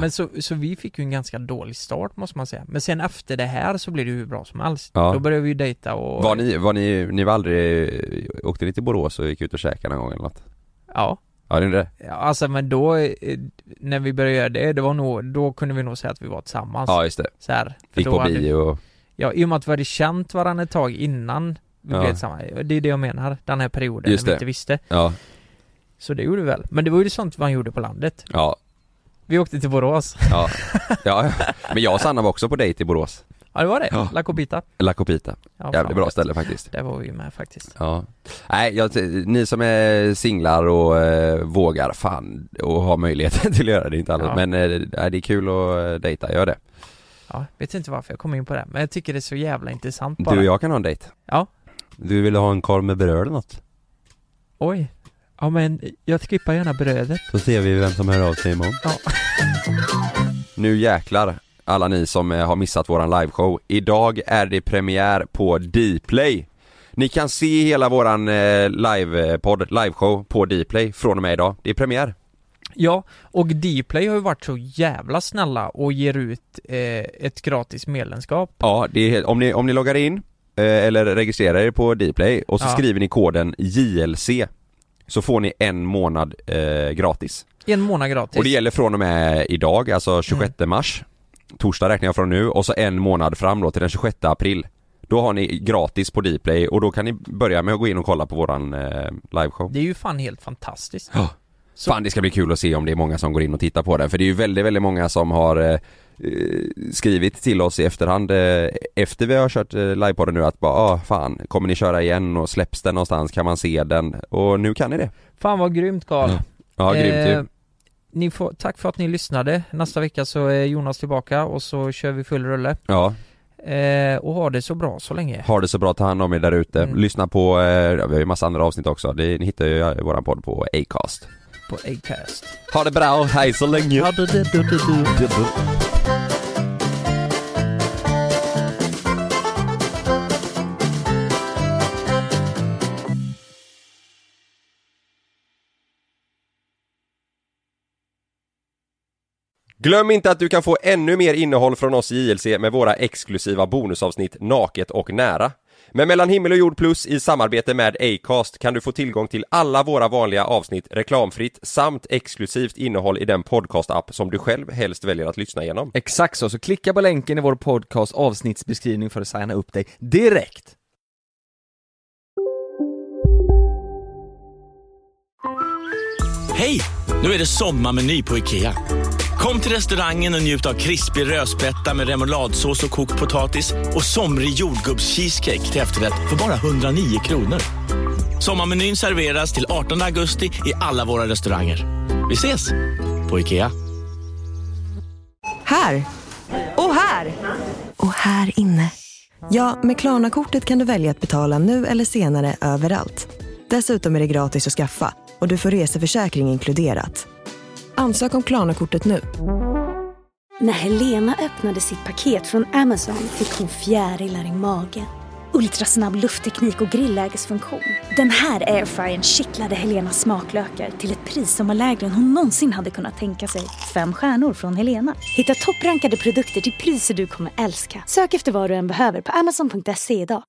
Speaker 3: Men så, så vi fick ju en ganska dålig start måste man säga. Men sen efter det här så blev det ju hur bra som helst.
Speaker 2: Ja.
Speaker 3: Då började vi ju dejta och...
Speaker 2: Var ni, var ni, ni var aldrig, åkte ni till Borås och gick ut och käkade någon gång eller något?
Speaker 3: Ja.
Speaker 2: Ja, det är det?
Speaker 3: Ja, Alltså men då, eh, när vi började göra det, det var nog, då kunde vi nog säga att vi var tillsammans.
Speaker 2: Ja, just det.
Speaker 3: Så här, för
Speaker 2: Gick
Speaker 3: då
Speaker 2: på
Speaker 3: hade-
Speaker 2: bio och...
Speaker 3: Ja, i och med att vi hade känt varandra ett tag innan vi
Speaker 2: Ja.
Speaker 3: blev tillsammans. Det är det jag menar, den här perioden
Speaker 2: Just
Speaker 3: när vi
Speaker 2: det.
Speaker 3: inte visste.
Speaker 2: Ja.
Speaker 3: Så det gjorde vi väl. Men det var ju sånt man gjorde på landet.
Speaker 2: Ja.
Speaker 3: Vi åkte till Borås.
Speaker 2: Ja. ja. Men jag och Sanna var också på dejt i Borås.
Speaker 3: Ja, det var det.
Speaker 2: Ja.
Speaker 3: La Copita.
Speaker 2: La Copita.
Speaker 3: Ja, fan
Speaker 2: Jävligt bra
Speaker 3: gött.
Speaker 2: ställe faktiskt.
Speaker 3: Där var vi ju med faktiskt.
Speaker 2: Ja. Nej, jag, ni som är singlar och eh, vågar, fan, och har möjligheten till att göra det, inte alla.
Speaker 3: Ja.
Speaker 2: Men eh, nej, det är kul att eh, dejta, gör det.
Speaker 3: Ja, vet inte varför jag kom in på det. Men jag tycker det är så jävla intressant bara.
Speaker 2: Du och jag kan ha en dejt.
Speaker 3: Ja.
Speaker 2: Du vill ha en korv med bröd eller något?
Speaker 3: Oj. Ja men jag skippar gärna brödet.
Speaker 2: Så ser vi vem som hör av sig imorgon.
Speaker 3: Ja.
Speaker 2: Nu jäklar, alla ni som eh, har missat våran liveshow. Idag är det premiär på Dplay. Ni kan se hela våran eh, livepodd, liveshow på Dplay från och med idag. Det är premiär.
Speaker 3: Ja, och Dplay har ju varit så jävla snälla och ger ut eh, ett gratis medlemskap.
Speaker 2: Ja, det är, helt- om, ni, om ni loggar in eh, eller registrerar er på Dplay och så
Speaker 3: Ja.
Speaker 2: skriver ni koden JLC så får ni en månad eh, gratis.
Speaker 3: En månad gratis.
Speaker 2: Och det gäller från och med idag, alltså 26 mars. Torsdag räknar jag från nu och så en månad fram då till den 26 april. Då har ni gratis på Dplay och då kan ni börja med att gå in och kolla på våran eh, liveshow.
Speaker 3: Det är ju fan helt fantastiskt.
Speaker 2: Ja. Fan det ska bli kul att se om det är många som går in och tittar på den för det är ju väldigt, väldigt många som har eh, eh, skrivit till oss i efterhand eh, efter vi har kört eh, livepodden nu att bara ah, fan, kommer ni köra igen och släpps den någonstans, kan man se den? Och nu kan ni det.
Speaker 3: Fan vad grymt Karl. Eh,
Speaker 2: Ja, grymt
Speaker 3: typ.
Speaker 2: ju.
Speaker 3: ni får, Tack för att ni lyssnade. Nästa vecka så är Jonas tillbaka och så kör vi full rulle.
Speaker 2: Ja,
Speaker 3: Eh, och ha det så bra så länge.
Speaker 2: ha det så bra, ta hand om er där ute.
Speaker 3: Mm.
Speaker 2: Lyssna på, eh, ja, vi har ju massa andra avsnitt också, det, ni hittar ju eh, våran podd på Acast.
Speaker 3: På Acast.
Speaker 2: Ha det bra och hej så länge! Glöm inte att du kan få ännu mer innehåll från oss i JLC med våra exklusiva bonusavsnitt Naket och nära. Med Mellan himmel och jord plus i samarbete med Acast kan du få tillgång till alla våra vanliga avsnitt reklamfritt samt exklusivt innehåll i den podcast-app som du själv helst väljer att lyssna igenom.
Speaker 3: Exakt så, så klicka på länken i vår podcast avsnittsbeskrivning för att signa upp dig direkt.
Speaker 7: Hej! Nu är det sommarmeny på IKEA. Kom till restaurangen och njut av krispig rödspätta med remouladsås och kokt potatis och somrig jordgubbscheesecake till efterrätt för bara 109 kronor. Sommarmenyn serveras till 18 augusti i alla våra restauranger. Vi ses! På IKEA.
Speaker 1: Här! Och här! Och här inne. Ja, med Klarna-kortet kan du välja att betala nu eller senare överallt. Dessutom är det gratis att skaffa och du får reseförsäkring inkluderat. Ansök om Klarna-kortet nu.
Speaker 8: När Helena öppnade sitt paket från Amazon fick hon fjärilar i magen. Ultrasnabb luftteknik och grillägesfunktion. Den här airfryern kittlade Helenas smaklökar till ett pris som var lägre än hon någonsin hade kunnat tänka sig. Fem stjärnor från Helena. Hitta topprankade produkter till priser du kommer älska. Sök efter vad du än behöver på amazon.se idag.